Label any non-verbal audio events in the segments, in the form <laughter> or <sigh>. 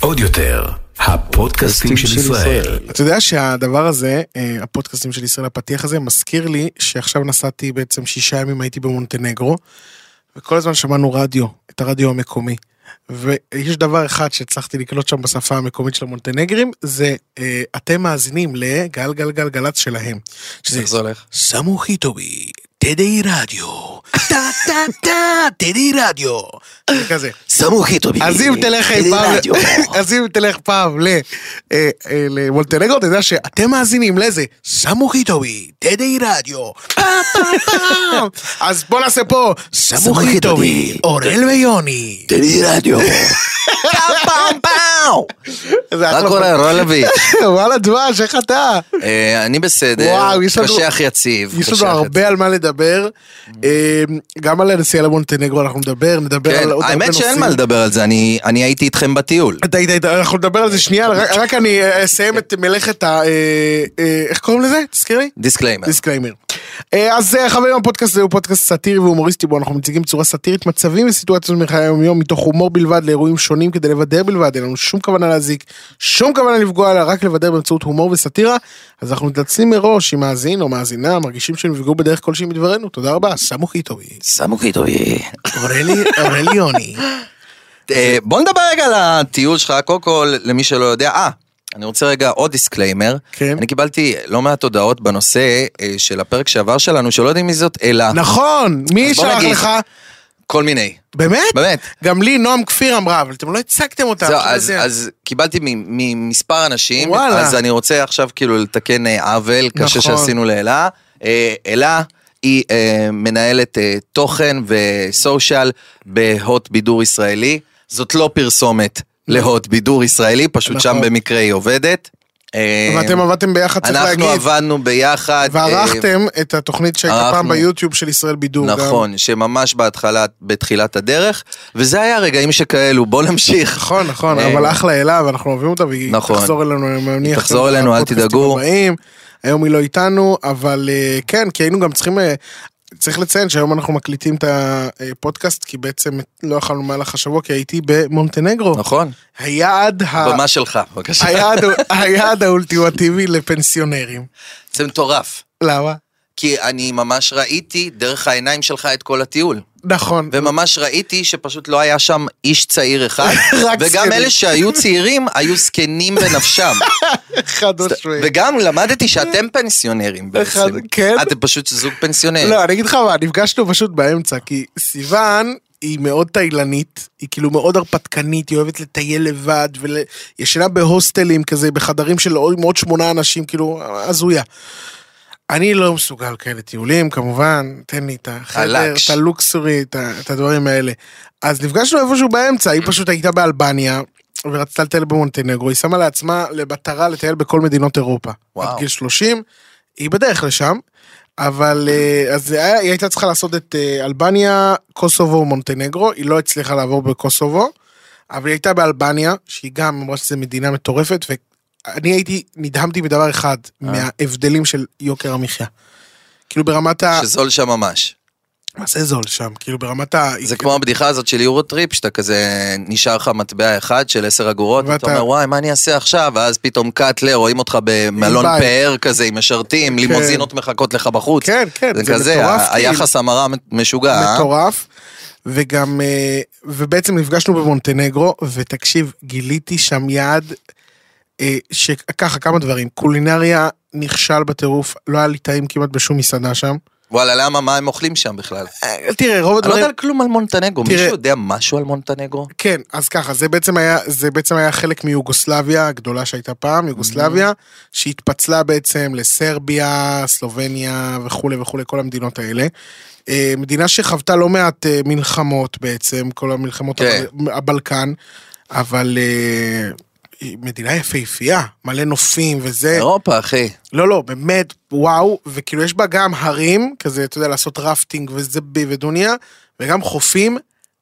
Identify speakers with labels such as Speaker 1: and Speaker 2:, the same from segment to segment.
Speaker 1: עוד יותר, הפודקאסטים של ישראל.
Speaker 2: אתה יודע שהדבר הזה, אה, הפודקאסטים של ישראל, הפתיח הזה, מזכיר לי שעכשיו נסעתי בעצם שישה ימים הייתי במונטנגרו, וכל הזמן שמענו רדיו, את הרדיו המקומי. ויש דבר אחד שהצלחתי לקלוט שם בשפה המקומית של המונטנגרים, זה אה, אתם מאזינים לגל גל גל גלצ שלהם. שזה
Speaker 3: איך זה הולך?
Speaker 2: סמו חיטובי, תדי רדיו, <laughs> טה טה טה, תדי רדיו. זה כזה.
Speaker 3: סמוכי טובי.
Speaker 2: אז אם תלך אי פעם, <laughs> אז אם תלך פעם ל- אה, אה, למולטנגרו, אתה יודע שאתם מאזינים לאיזה סמוכי טובי, תדי רדיו, <laughs> פם פם פם. אז בוא נעשה פה סמוכי טובי,
Speaker 3: סמוכי טובי,
Speaker 2: אורל ויוני.
Speaker 3: תני
Speaker 2: <laughs>
Speaker 3: רדיו. פעם פעם פעם.
Speaker 2: זה אחלה
Speaker 3: מה קורה, רון לוי?
Speaker 2: פרק. <laughs> וואלה דבש, איך אתה?
Speaker 3: <laughs> אה, אני בסדר.
Speaker 2: וואו, יש לנו-
Speaker 3: קשה אך יציב.
Speaker 2: יש
Speaker 3: קשה
Speaker 2: לנו
Speaker 3: אך
Speaker 2: הרבה על מה לדבר,
Speaker 3: Mm.
Speaker 2: אה, גם על הנסיעה למונטנגרו אנחנו נדבר, נדבר
Speaker 3: יציב.
Speaker 2: על עוד
Speaker 3: כן,
Speaker 2: הרבה נושאים.
Speaker 3: האמת שאין מה לדבר על זה, אני- אני הייתי איתכם בטיול.
Speaker 2: אתה היית, היית, אנחנו נדבר על זה שנייה, רק רק אני אה, אסיים את מלאכת ה... אה, אה, איך קוראים לזה? תזכיר לי?
Speaker 3: דיסקליימר.
Speaker 2: דיסקליימר. אה, אז אה, חברים, הפודקאסט הזה הוא פודקאסט סאטירי והומוריסטי, בו אנחנו מציגים בצורה סאטירית מצבים וסיטואציות מחיי היום-יום, מתוך הומור בלבד לאירועים שונים כדי לבדר בלבד, אין לנו שום כוונה להזיק, שום כוונה לפגוע, אלא רק לבדר באמצעות הומור וסאטירה, אז אנחנו מתנצלים מראש אם מאזין או מאזינה מרגישים שנפגעו בדרך כלשהי מדברנו, תודה רבה, סמוכי טובי.
Speaker 3: סמוכי טובי.
Speaker 2: אורלי, אורלי יוני.
Speaker 3: אה, בוא נדבר רגע על הטיול שלך, קודם כל, למי שלא יודע, אה, אני רוצה רגע עוד דיסקליימר.
Speaker 2: כן.
Speaker 3: אני קיבלתי לא מעט הודעות בנושא אה, של הפרק שעבר שלנו, שלא יודעים מי זאת אלה.
Speaker 2: נכון, מי
Speaker 3: אז בוא
Speaker 2: שלח
Speaker 3: נגיד.
Speaker 2: לך?
Speaker 3: כל מיני.
Speaker 2: באמת?
Speaker 3: באמת.
Speaker 2: גם לי נועם כפיר אמרה, אבל אתם לא הצגתם אותה.
Speaker 3: זהו,
Speaker 2: עכשיו
Speaker 3: אז,
Speaker 2: זה-
Speaker 3: אז קיבלתי מ- ממספר אנשים,
Speaker 2: וואלה.
Speaker 3: אז אני רוצה עכשיו כאילו לתקן אה, עוול קשה
Speaker 2: נכון.
Speaker 3: שעשינו לאלה. אה, אלה היא אה, מנהלת אה, תוכן וסושיאל בהוט בידור ישראלי. זאת לא פרסומת להוט בידור ישראלי, פשוט
Speaker 2: נכון.
Speaker 3: שם במקרה היא עובדת. אה,
Speaker 2: ואתם עבדתם ביחד, צריך
Speaker 3: אנחנו
Speaker 2: להגיד.
Speaker 3: עבדנו ביחד. אה,
Speaker 2: וערכתם את התוכנית שהייתה
Speaker 3: ערכנו.
Speaker 2: פעם ביוטיוב של ישראל בידור. גם.
Speaker 3: נכון, שממש בהתחלה, בתחילת הדרך, וזה היה רגעים שכאלו, בוא
Speaker 2: <laughs>
Speaker 3: נמשיך.
Speaker 2: נכון, נכון,
Speaker 3: אה,
Speaker 2: אבל אחלה אלה, ואנחנו אוהבים אותה, והיא
Speaker 3: נכון.
Speaker 2: תחזור אלינו, אני מניח.
Speaker 3: תחזור אלינו, אל תדאגו.
Speaker 2: בפודקאסטים הבאים. היום היא לא איתנו, אבל אה, כן, כי היינו גם צריכים... אה, צריך לציין שהיום אנחנו מקליטים את הפודקאסט, כי בעצם לא יכולנו מהלך השבוע, כי הייתי במונטנגרו.
Speaker 3: נכון,
Speaker 2: היעד ה-
Speaker 3: במה שלך, בבקשה. <laughs>
Speaker 2: היעד היעד האולטימטיבי לפנסיונרים.
Speaker 3: זה מטורף.
Speaker 2: למה?
Speaker 3: כי אני ממש ראיתי דרך העיניים שלך את כל הטיול.
Speaker 2: נכון.
Speaker 3: וממש ראיתי שפשוט לא היה שם איש צעיר אחד.
Speaker 2: <laughs> רק
Speaker 3: וגם
Speaker 2: זקנים.
Speaker 3: אלה שהיו צעירים היו זקנים בנפשם.
Speaker 2: <laughs> חד משמעית.
Speaker 3: וגם למדתי שאתם פנסיונרים בעצם.
Speaker 2: אחד- כן.
Speaker 3: אתם פשוט זוג פנסיונרים.
Speaker 2: לא, אני אגיד לך מה, נפגשנו פשוט באמצע, כי סיוון היא מאוד תאילנית, היא כאילו מאוד הרפתקנית, היא אוהבת לטייל לבד, ול- ישנה בהוסטלים כזה, בחדרים של עוד עם עוד שמונה אנשים, כאילו, הזויה. אני לא מסוגל כאלה טיולים, כמובן, תן לי את החדר,
Speaker 3: הלקש.
Speaker 2: את הלוקסורי, את ה- את הדברים האלה. אז נפגשנו איפשהו באמצע,
Speaker 3: כן.
Speaker 2: היא פשוט הייתה באלבניה, ורצתה לטייל במונטנגרו, היא שמה לעצמה למטרה לטייל בכל מדינות אירופה.
Speaker 3: וואו.
Speaker 2: עד גיל 30, היא בדרך לשם, אבל אה, אז זה היה- היא הייתה צריכה לעשות את אה, אלבניה, קוסובו ומונטנגרו, היא לא הצליחה לעבור בקוסובו, אבל היא הייתה באלבניה, שהיא גם אמרה שזו מדינה מטורפת, ואני הייתי, נדהמתי מדבר אחד,
Speaker 3: אה.
Speaker 2: מההבדלים של יוקר המחיה. כאילו ברמת ה...
Speaker 3: שזול שם ממש.
Speaker 2: מה זה זול שם? כאילו ברמת ה...
Speaker 3: זה כמו הבדיחה הזאת של יורוטריפ, שאתה כזה, נשאר לך מטבע אחד של 10 אגורות,
Speaker 2: ואתה-
Speaker 3: ואתה אומר, וואי, מה אני אעשה עכשיו? ואז פתאום קאטלה, רואים אותך במלון
Speaker 2: בית.
Speaker 3: פאר כזה, עם משרתים, לימוזינות מחכות לך בחוץ.
Speaker 2: כן, כן,
Speaker 3: זה
Speaker 2: זה
Speaker 3: כזה,
Speaker 2: מטורף,
Speaker 3: ה-
Speaker 2: כאילו.
Speaker 3: היחס המרה משוגע, אה?
Speaker 2: מטורף. וגם, אה, ובעצם נפגשנו במונטנגרו, ותקשיב, גיליתי שם יעד, אה, שככה, כמה דברים. קולינריה נכשל בטירוף, לא היה לי טעים כמעט בשום מסעדה שם.
Speaker 3: וואלה, למה, מה הם אוכלים שם בכלל?
Speaker 2: אה, תראה, רוב
Speaker 3: אני לא
Speaker 2: הדברים...
Speaker 3: יודע כלום על מונטנגרו,
Speaker 2: תראה-
Speaker 3: מישהו יודע משהו על מונטנגרו?
Speaker 2: כן, אז ככה, זה בעצם היה, זה בעצם היה חלק מיוגוסלביה הגדולה שהייתה פעם, יוגוסלביה, שהתפצלה בעצם לסרביה, סלובניה וכולי וכולי, כל המדינות האלה. אה, מדינה שחוותה לא מעט אה, מלחמות בעצם, כל המלחמות
Speaker 3: כן.
Speaker 2: הבל- הבלקן, אבל אה, היא מדינה יפהפייה, מלא נופים וזה.
Speaker 3: אירופה, אחי.
Speaker 2: לא, לא, באמת, וואו, וכאילו יש בה גם הרים, כזה, אתה יודע, לעשות רפטינג וזה ב- ודוניה, וגם חופים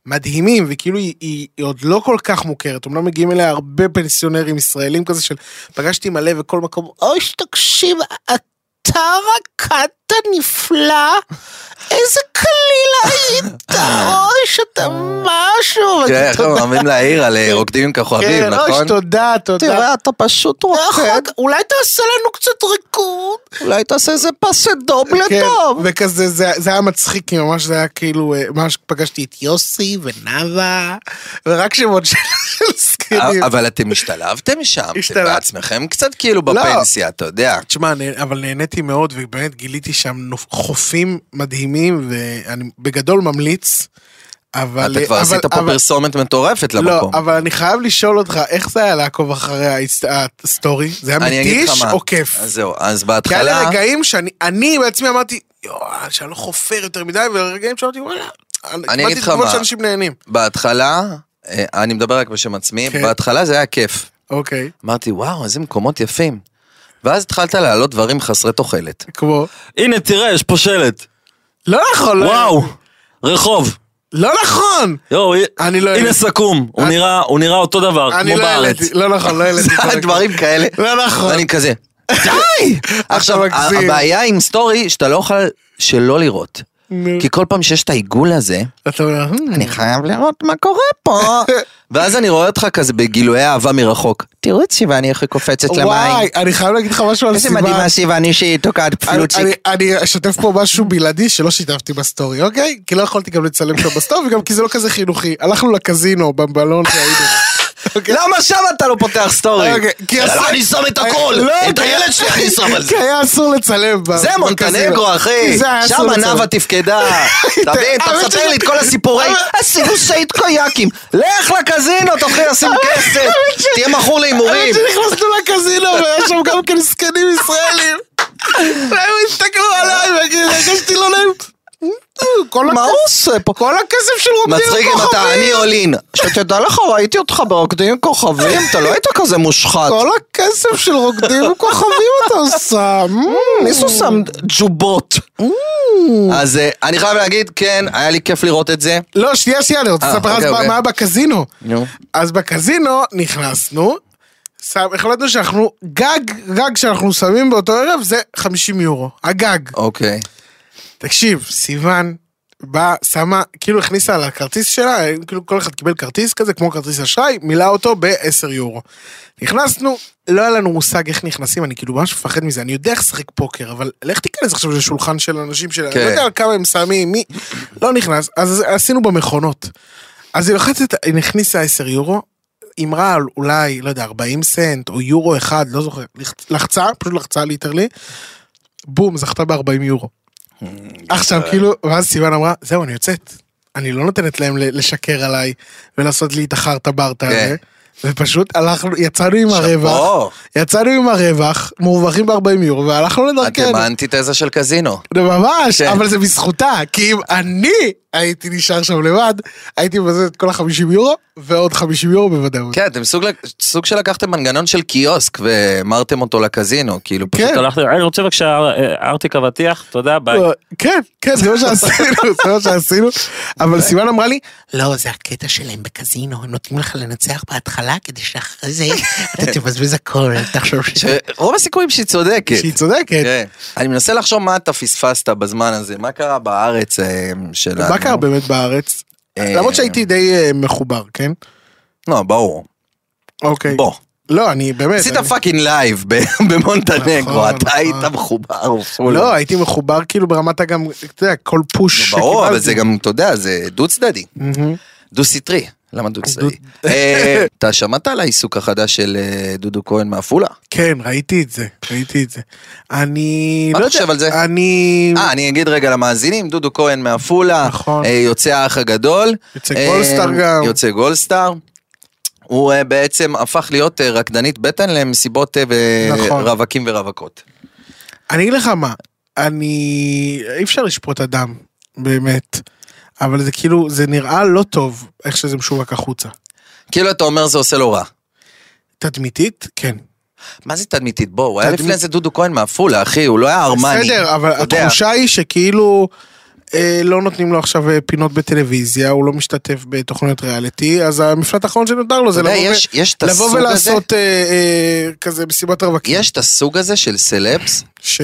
Speaker 2: מדהימים, וכאילו היא, היא, היא עוד לא כל כך מוכרת, אומנם מגיעים אליה הרבה פנסיונרים ישראלים כזה של פגשתי מלא וכל מקום, אוי, תקשיב, אתר הקאט הנפלא, איזה קליט. להעיד את הראש, אתה משהו.
Speaker 3: תראה, איך הם כן, אוהבים להעיר על אה, רוקדים עם כוכבים,
Speaker 2: כן, ראש,
Speaker 3: נכון?
Speaker 2: תודה, תודה.
Speaker 4: תראה, אתה פשוט רוקד,
Speaker 2: רחוק, אה, אולי תעשה לנו קצת ריקוד.
Speaker 4: אולי תעשה איזה פסה
Speaker 5: לא
Speaker 4: דובלה
Speaker 2: כן,
Speaker 4: טוב.
Speaker 2: וכזה, זה זה היה מצחיק, כי ממש זה היה כאילו, אה, ממש פגשתי את יוסי ונאווה, ורק שמות של של זקנים.
Speaker 3: אה, אבל אתם השתלבתם שם, אתם
Speaker 2: השתלב- לא.
Speaker 3: בעצמכם קצת כאילו בפנסיה, אתה יודע.
Speaker 2: תשמע, אני- אבל נהניתי מאוד, ובאמת גיליתי שם נופ- חופים מדהימים, ואני בגדול ממליץ, אבל...
Speaker 3: אתה כבר
Speaker 2: אבל-
Speaker 3: עשית פה
Speaker 2: אבל-
Speaker 3: פרסומת מטורפת
Speaker 2: לא,
Speaker 3: למקום.
Speaker 2: אבל אני חייב לשאול אותך, איך זה היה לעקוב אחרי ההצ- הסטורי? זה היה
Speaker 3: אני אגיד לך
Speaker 2: מתיש
Speaker 3: מה.
Speaker 2: או כיף?
Speaker 3: אז זהו, אז
Speaker 2: כי היה לי
Speaker 3: בהתחלה...
Speaker 2: רגעים שאני אני בעצמי אמרתי, יואו, שאני לא חופר יותר מדי, ורגעים שאמרתי, וואלה,
Speaker 3: אני
Speaker 2: קיבלתי
Speaker 3: אגיד לך
Speaker 2: תגובות
Speaker 3: מה.
Speaker 2: שאנשים נהנים.
Speaker 3: בהתחלה, אה, אני מדבר רק בשם עצמי,
Speaker 2: כן.
Speaker 3: בהתחלה זה היה כיף.
Speaker 2: אוקיי,
Speaker 3: אמרתי, וואו, איזה מקומות יפים. ואז התחלת להעלות דברים חסרי תוחלת.
Speaker 2: כמו...
Speaker 4: הנה, תראה, יש פה שלט.
Speaker 2: לא נכון, לא-
Speaker 4: וואו, רחוב.
Speaker 2: לא נכון!
Speaker 4: יואו,
Speaker 2: אני לא
Speaker 4: הנה
Speaker 2: העליתי-
Speaker 4: סכו"ם. הוא
Speaker 2: אני-
Speaker 4: נראה- הוא נראה אותו דבר,
Speaker 2: אני
Speaker 4: כמו
Speaker 2: לא
Speaker 4: בארץ.
Speaker 2: העליתי, לא נכון, לא העליתי.
Speaker 3: <laughs>
Speaker 2: את זה.
Speaker 3: דברים כאלה.
Speaker 2: לא נכון. <laughs>
Speaker 3: ואני כזה, די! עכשיו,
Speaker 2: מגזים.
Speaker 3: הבעיה עם סטורי, שאתה לא יכול שלא לראות.
Speaker 2: נו.
Speaker 3: כי כל פעם שיש את העיגול הזה,
Speaker 2: אתה אומר, "Hmm,
Speaker 3: אני חייב לראות מה קורה
Speaker 2: <laughs>
Speaker 3: פה. ואז אני רואה אותך כזה בגילויי אהבה מרחוק. תראו את סיוון, איך היא קופצת
Speaker 2: וואי, אני חייב להגיד לך משהו על
Speaker 3: איזה
Speaker 2: סיוון.
Speaker 3: מדהימה סיוון, היא שהיא תוקעת
Speaker 2: אני-
Speaker 3: פלוצ'יק.
Speaker 2: אני- אני אשתף פה משהו בלעדי שלא שיתפתי בסטורי, אוקיי? כי לא יכולתי גם לצלם שם בסטורי, וגם כי זה לא כזה חינוכי. הלכנו לקזינו, במלון שהיינו.
Speaker 3: למה שם אתה לא פותח סטורי?
Speaker 2: אוקיי, כי אסור-
Speaker 3: שם את
Speaker 2: לא,
Speaker 3: את
Speaker 2: כי-
Speaker 3: הילד שלי אני שם על זה.
Speaker 2: כי היה אסור לצלם. ב-
Speaker 3: זה
Speaker 2: בקזינו.
Speaker 3: מונטנגרו, אחי.
Speaker 2: כי זה היה
Speaker 3: שם
Speaker 2: אסור לצלם.
Speaker 3: נאווה
Speaker 2: <laughs>
Speaker 3: תפקדה. אתה מבין? אתה
Speaker 2: האמת
Speaker 3: מספר
Speaker 2: שזה-
Speaker 3: לי את כל הסיפורי. עשינו סייט קויאקים. לך לקזינו, תתחיל לשים כסף. תהיה מכור
Speaker 2: האמת
Speaker 3: להימורים.
Speaker 2: שנכנסנו לקזינו והיה שם גם כן זקנים ישראלים. והם הסתכלו עליי והרגשתי לא נעים. כל
Speaker 4: מה
Speaker 2: הכ-
Speaker 4: הוא עושה פה?
Speaker 2: כל הכסף של רוקדים
Speaker 3: מצחיק אם אתה אני או לין.
Speaker 2: לא
Speaker 4: שתדע לך, ראיתי אותך ברוקדים עם כוכבים, אתה לא היית כזה מושחת.
Speaker 2: כל הכסף של רוקדים עם כוכבים אתה עושה. מ,
Speaker 4: מישהו שם ג'ובות.
Speaker 2: Mm.
Speaker 3: אז אה, אני חייב להגיד, כן, היה לי כיף לראות את זה.
Speaker 2: לא, שנייה, שנייה, אני רוצה
Speaker 3: אה,
Speaker 2: לספר לך
Speaker 3: אוקיי,
Speaker 2: מה-
Speaker 3: אוקיי.
Speaker 2: מה היה בקזינו.
Speaker 3: נו.
Speaker 2: אז בקזינו נכנסנו, שם- החלטנו שאנחנו, גג, גג שאנחנו שמים באותו ערב זה 50 יורו, הגג.
Speaker 3: אוקיי.
Speaker 2: תקשיב, סיוון באה, שמה, כאילו הכניסה על הכרטיס שלה, כאילו כל אחד קיבל כרטיס כזה, כמו כרטיס אשראי, מילא אותו ב-10 יורו. נכנסנו, לא היה לנו מושג איך נכנסים, אני כאילו ממש מפחד מזה, אני יודע איך לשחק פוקר, אבל לך תיכנס עכשיו לשולחן של אנשים של...
Speaker 3: כן.
Speaker 2: אני לא יודע כמה הם שמים, מי... לא נכנס, אז עשינו במכונות. אז היא לוחצת, היא הכניסה 10 יורו, אמרה על אולי, לא יודע, 40 סנט, או יורו אחד, לא זוכר, לחצ- לחצה, פשוט לחצה ליטרלי, בום, זכתה ב-40 יורו. עכשיו
Speaker 3: אה.
Speaker 2: כאילו, ואז סיוון אמרה, זהו, אני יוצאת. אני לא נותנת להם ל- לשקר עליי ולעשות לי את החרטה ברטה הזה. ופשוט הלכנו, יצאנו עם הרווח,
Speaker 3: כן. שאפו.
Speaker 2: יצאנו עם הרווח, מורווחים ב-40 יורו, והלכנו
Speaker 3: אתם
Speaker 2: לדרכנו.
Speaker 3: האנטיתזה של קזינו.
Speaker 2: זה ממש,
Speaker 3: כן.
Speaker 2: אבל זה בזכותה, כי אם אני הייתי נשאר שם לבד, הייתי מבזבז את כל ה-50 יורו, ועוד 50 יורו בוודאות.
Speaker 3: כן, אתם סוג, סוג שלקחתם מנגנון של קיוסק והמרתם אותו לקזינו, כאילו פשוט...
Speaker 2: כן.
Speaker 5: הלכתי, אני רוצה בבקשה אה, ארטיק אבטיח, תודה, ביי.
Speaker 2: כן, כן, זה מה שעשינו, זה מה שעשינו, אבל סיוון אמרה לי, לא, זה הקטע שלהם בקזינו, הם נותנים לך לנצח בהתחלה, כדי שאחרי זה אתה תבזבז הכל, אל תחשוב ש...
Speaker 3: רוב הסיכויים שהיא צודקת.
Speaker 2: שהיא צודקת.
Speaker 3: כן. אני מנסה לחשוב מה אתה פספסת בזמן הזה, מה קרה בארץ אה, שלנו.
Speaker 2: מה קרה באמת בארץ?
Speaker 3: אה,
Speaker 2: למרות שהייתי די אה, מחובר, כן?
Speaker 3: לא, ברור.
Speaker 2: אוקיי.
Speaker 3: בוא.
Speaker 2: לא, אני באמת...
Speaker 3: עשית
Speaker 2: אני-
Speaker 3: פאקינג לייב ב- <laughs> במונטנגרו,
Speaker 2: נכון,
Speaker 3: אתה היית
Speaker 2: נכון.
Speaker 3: מחובר. פול.
Speaker 2: לא, הייתי מחובר כאילו ברמת הגם, אתה יודע, כל פוש שקיבלתי.
Speaker 3: ברור, אבל זה גם, אתה יודע, זה דו צדדי. דו סטרי. למה דו צדדי? אה, אתה שמעת על העיסוק החדש של אה, דודו כהן מעפולה?
Speaker 2: כן, ראיתי את זה, ראיתי את זה. אני...
Speaker 3: מה
Speaker 2: לא
Speaker 3: אתה
Speaker 2: יודע,
Speaker 3: חושב על זה?
Speaker 2: אני...
Speaker 3: אה, אני אגיד רגע למאזינים, דודו כהן מעפולה,
Speaker 2: נכון.
Speaker 3: אה, יוצא האח הגדול.
Speaker 2: יוצא
Speaker 3: אה,
Speaker 2: גולדסטאר גם.
Speaker 3: יוצא גולדסטאר. הוא אה, בעצם הפך להיות אה, רקדנית בטן למסיבות אה, ו-
Speaker 2: נכון.
Speaker 3: רווקים ורווקות.
Speaker 2: אני אגיד לך מה, אני... אי אפשר לשפוט אדם, באמת. אבל זה כאילו, זה נראה לא טוב איך שזה משווק החוצה.
Speaker 3: כאילו אתה אומר זה עושה לו רע.
Speaker 2: תדמיתית? כן.
Speaker 3: מה זה תדמיתית? בוא, הוא היה
Speaker 2: תדמית-
Speaker 3: לפני זה דודו כהן מעפולה, אחי, הוא לא היה ארמני.
Speaker 2: בסדר, אבל
Speaker 3: אתה יודע.
Speaker 2: התחושה היא שכאילו... אה, לא נותנים לו עכשיו אה, פינות בטלוויזיה, הוא לא משתתף בתוכניות ריאליטי, אז המפלט האחרון שנותר לו זה
Speaker 3: אתה יודע,
Speaker 2: לבוא ו-
Speaker 3: יש- יש את
Speaker 2: לבוא
Speaker 3: הסוג הזה,
Speaker 2: ולעשות אה, אה, כזה מסיבת רווקים.
Speaker 3: יש את הסוג הזה של סלבס,
Speaker 2: ש...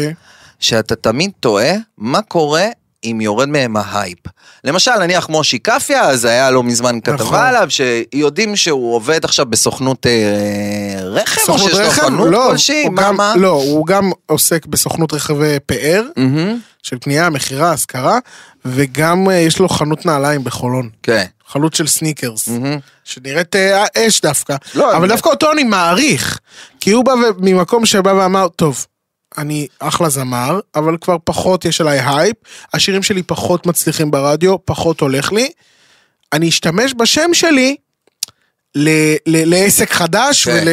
Speaker 3: שאתה תמיד תוהה מה קורה אם יורד מהם ההייפ. למשל, נניח מושי קפיה, אז היה לא מזמן כתבה
Speaker 2: נכון.
Speaker 3: עליו, שיודעים שהוא עובד עכשיו בסוכנות אה, רכב, או שיש לו חנות
Speaker 2: לא,
Speaker 3: כלשהי,
Speaker 2: הוא
Speaker 3: מה,
Speaker 2: גם-
Speaker 3: מה?
Speaker 2: לא, הוא גם עוסק בסוכנות רכבי פאר,
Speaker 3: מהמם.
Speaker 2: של קנייה, מכירה, השכרה, וגם אה, יש לו חנות נעליים בחולון.
Speaker 3: כן.
Speaker 2: חלוץ של סניקרס,
Speaker 3: מהמם.
Speaker 2: שנראית אה, אש דווקא.
Speaker 4: לא,
Speaker 2: אבל
Speaker 4: אני-
Speaker 2: דווקא אותו אני מעריך, כי הוא בא ו- ממקום שבא ואמר, טוב, אני אחלה זמר, אבל כבר פחות יש עליי הייפ, השירים שלי פחות מצליחים ברדיו, פחות הולך לי. אני אשתמש בשם שלי ל- ל- לעסק חדש
Speaker 3: כן.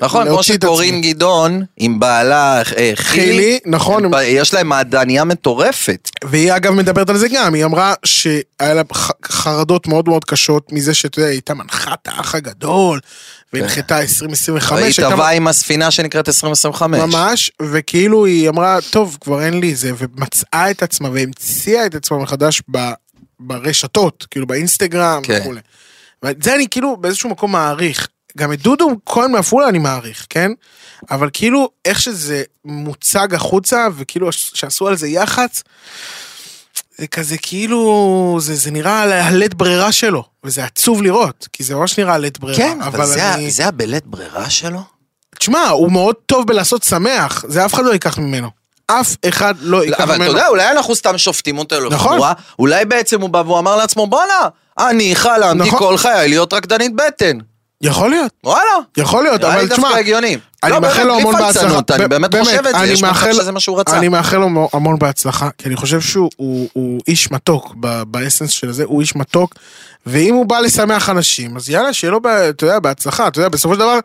Speaker 3: נכון, כמו
Speaker 2: ולהוציא את
Speaker 3: שקורין
Speaker 2: עצמי.
Speaker 3: גדעון, עם בעלה אה, חילי,
Speaker 2: חילי, נכון,
Speaker 3: הם- יש להם מעדניה מטורפת.
Speaker 2: והיא אגב מדברת על זה גם, היא אמרה שהיה לה ח- חרדות מאוד מאוד קשות מזה שאתה יודע, היא הייתה מנחת האח הגדול, והנחתה 2025,
Speaker 3: היא
Speaker 2: הייתה
Speaker 3: טבעה עם הספינה שנקראת 2025.
Speaker 2: ממש, וכאילו היא אמרה, טוב, כבר אין לי זה, ומצאה את עצמה והמציאה את עצמה מחדש ב, ברשתות, כאילו באינסטגרם
Speaker 3: כן.
Speaker 2: וכולי. ואת זה אני כאילו באיזשהו מקום מעריך. גם את דודו כהן מעפולה אני מעריך, כן? אבל כאילו, איך שזה מוצג החוצה, וכאילו שעשו על זה יח"צ, זה כזה כאילו, זה, זה נראה על הלית ברירה שלו, וזה עצוב לראות, כי זה ממש נראה הלית ברירה.
Speaker 3: כן, אבל זה ה-
Speaker 2: אני...
Speaker 3: זה הבלית ברירה שלו?
Speaker 2: תשמע, הוא מאוד טוב בלעשות שמח, זה אף אחד לא ייקח ממנו. אף אחד לא
Speaker 3: לא,
Speaker 2: ייקח ממנו.
Speaker 3: אבל אתה יודע, אולי אנחנו סתם שופטים אותו
Speaker 2: נכון.
Speaker 3: לחבורה, אולי בעצם הוא בא והוא אמר לעצמו, בואנה, אני חלמתי
Speaker 2: נכון.
Speaker 3: כל חיי להיות רקדנית בטן.
Speaker 2: יכול להיות,
Speaker 3: וואלה.
Speaker 2: יכול להיות,
Speaker 3: נראה לי
Speaker 2: אבל תשמע,
Speaker 3: דווקא הגיוני.
Speaker 2: אני
Speaker 3: לא,
Speaker 2: מאחל
Speaker 3: באמת,
Speaker 2: לו
Speaker 3: בלי
Speaker 2: המון
Speaker 3: פלצנות,
Speaker 2: בהצלחה.
Speaker 3: אני
Speaker 2: ב-
Speaker 3: באמת
Speaker 2: באמת,
Speaker 3: חושב את זה,
Speaker 2: אני
Speaker 3: יש מצב
Speaker 2: מאחל-
Speaker 3: שזה מה שהוא רצה.
Speaker 2: אני מאחל לו המון בהצלחה, כי אני חושב שהוא הוא- הוא איש מתוק, ב- באסנס של זה, הוא איש מתוק, ואם הוא בא לשמח אנשים, אז יאללה, שיהיה לו, ב- אתה יודע, בהצלחה, אתה יודע, בסופו של דבר,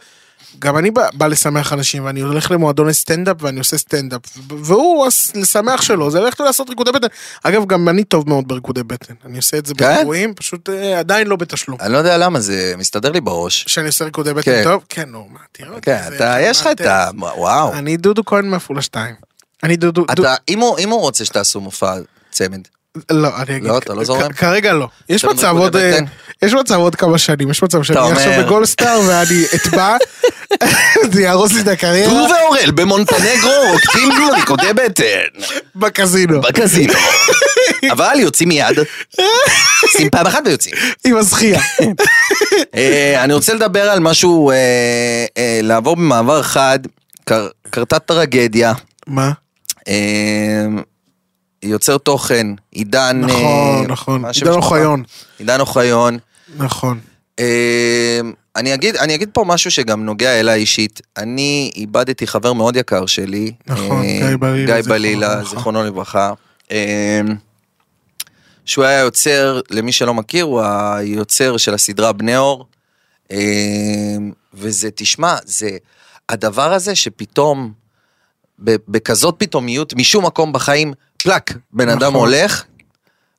Speaker 2: גם אני בא, בא לשמח אנשים, ואני הולך למועדון סטנדאפ ואני עושה סטנדאפ, ו- והוא, הס- לשמח שלו, זה ללכת לעשות ריקודי בטן. אגב, גם אני טוב מאוד בריקודי בטן, אני עושה את זה
Speaker 3: כן?
Speaker 2: באירועים, פשוט אה, עדיין לא בתשלום.
Speaker 3: אני לא יודע למה, זה מסתדר לי בראש.
Speaker 2: שאני עושה ריקודי
Speaker 3: כן.
Speaker 2: בטן טוב? כן, נו, מה, תראה אותי.
Speaker 3: כן,
Speaker 2: זה
Speaker 3: אתה, יש לך את
Speaker 2: חמאטה.
Speaker 3: ה... וואו.
Speaker 2: אני דודו כהן מעפולה 2. אני דודו... דו-
Speaker 3: אתה, אם הוא- אם הוא רוצה שתעשו מופע צמד,
Speaker 2: לא, אני אגיד...
Speaker 3: לא, אתה לא זורם?
Speaker 2: כ- כרגע לא. יש
Speaker 3: אתה
Speaker 2: מצב
Speaker 3: אומר
Speaker 2: עוד...
Speaker 3: ריקודי
Speaker 2: אה,
Speaker 3: בטן?
Speaker 2: יש מצב עוד כמה שנים, יש מצב שאני
Speaker 3: אומר-
Speaker 2: עכשיו בגולדסטאר ואני
Speaker 3: <laughs>
Speaker 2: אטבע, זה יהרוס לי את
Speaker 3: הוא
Speaker 2: הקריירה
Speaker 3: ואורל במונטנגרו
Speaker 2: <laughs>
Speaker 3: רוקדים ריקודי בטן
Speaker 2: בקזינו, <laughs>
Speaker 3: בקזינו. אבל יוצאים מיד. עושים פעם אחת ויוצאים.
Speaker 2: עם
Speaker 3: <laughs>
Speaker 2: הזכייה.
Speaker 3: אה, אני רוצה לדבר על משהו, אה, אה, לעבור במעבר חד. קר- קרתה טרגדיה.
Speaker 2: מה?
Speaker 3: אה, יוצר תוכן, עידן...
Speaker 2: נכון,
Speaker 3: אה,
Speaker 2: נכון.
Speaker 3: מה השם
Speaker 2: עידן
Speaker 3: שלך?
Speaker 2: אוחיון.
Speaker 3: עידן אוחיון.
Speaker 2: נכון.
Speaker 3: אה, אני אגיד, אני אגיד פה משהו שגם נוגע אליי אישית. אני איבדתי חבר מאוד יקר שלי.
Speaker 2: נכון,
Speaker 3: אה,
Speaker 2: גיא בלילה,
Speaker 3: גיא
Speaker 2: זיכרונו
Speaker 3: בלילה,
Speaker 2: לברכה.
Speaker 3: זיכרונו לברכה. אה, שהוא היה יוצר, למי שלא מכיר, הוא היוצר של הסדרה בני אור. אה, וזה, תשמע, זה הדבר הזה שפתאום, ב- בכזאת פתאומיות, משום מקום בחיים, פלאק, בן אדם
Speaker 2: נכון.
Speaker 3: הולך,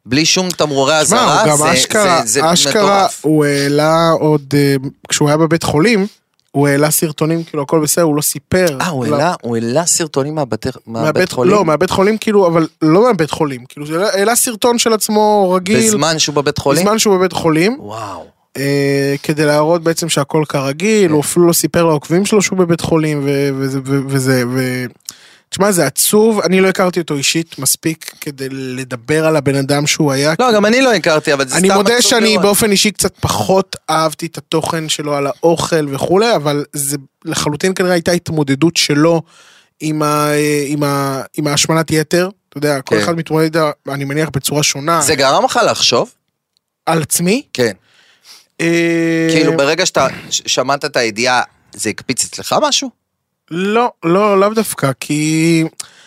Speaker 3: בלי שום תמרורי
Speaker 2: תשמע,
Speaker 3: אזהרה,
Speaker 2: הוא גם
Speaker 3: זה-
Speaker 2: אשכרה,
Speaker 3: זה- זה
Speaker 2: אשכרה,
Speaker 3: מטורף.
Speaker 2: הוא העלה עוד, אה, כשהוא היה בבית חולים, הוא העלה סרטונים, כאילו הכל בסדר, הוא לא סיפר.
Speaker 3: אה, הוא
Speaker 2: לא-
Speaker 3: העלה, הוא העלה סרטונים מהבתי- מהבית
Speaker 2: מהבית-
Speaker 3: אה, חולים?
Speaker 2: לא, מהבית חולים, כאילו, אבל לא מהבית חולים, כאילו, זה העלה- העלה סרטון של עצמו רגיל.
Speaker 3: בזמן שהוא בבית חולים?
Speaker 2: בזמן שהוא בבית חולים,
Speaker 3: וואו.
Speaker 2: אה, כדי להראות בעצם שהכל
Speaker 3: כן.
Speaker 2: כרגיל, הוא אפילו לא סיפר לעוקבים שלו שהוא בבית חולים, ו- וזה, ו- וזה, ו... תשמע, זה עצוב, אני לא הכרתי אותו אישית מספיק כדי לדבר על הבן אדם שהוא היה.
Speaker 3: לא, גם אני לא הכרתי, אבל זה סתם...
Speaker 2: אני מודה
Speaker 3: עצוב
Speaker 2: שאני
Speaker 3: לראות.
Speaker 2: באופן אישי קצת פחות אהבתי את התוכן שלו על האוכל וכולי, אבל זה לחלוטין כנראה הייתה התמודדות שלו עם, ה, עם, ה, עם ההשמנת יתר. אתה יודע, כל
Speaker 3: כן.
Speaker 2: אחד מתמודד, אני מניח, בצורה שונה.
Speaker 3: זה גרם לך לחשוב?
Speaker 2: על עצמי.
Speaker 3: כן.
Speaker 2: אה,
Speaker 3: כאילו, ברגע שאתה ש- שמעת את הידיעה, זה הקפיץ אצלך משהו?
Speaker 2: לא, לא, לאו דווקא, כי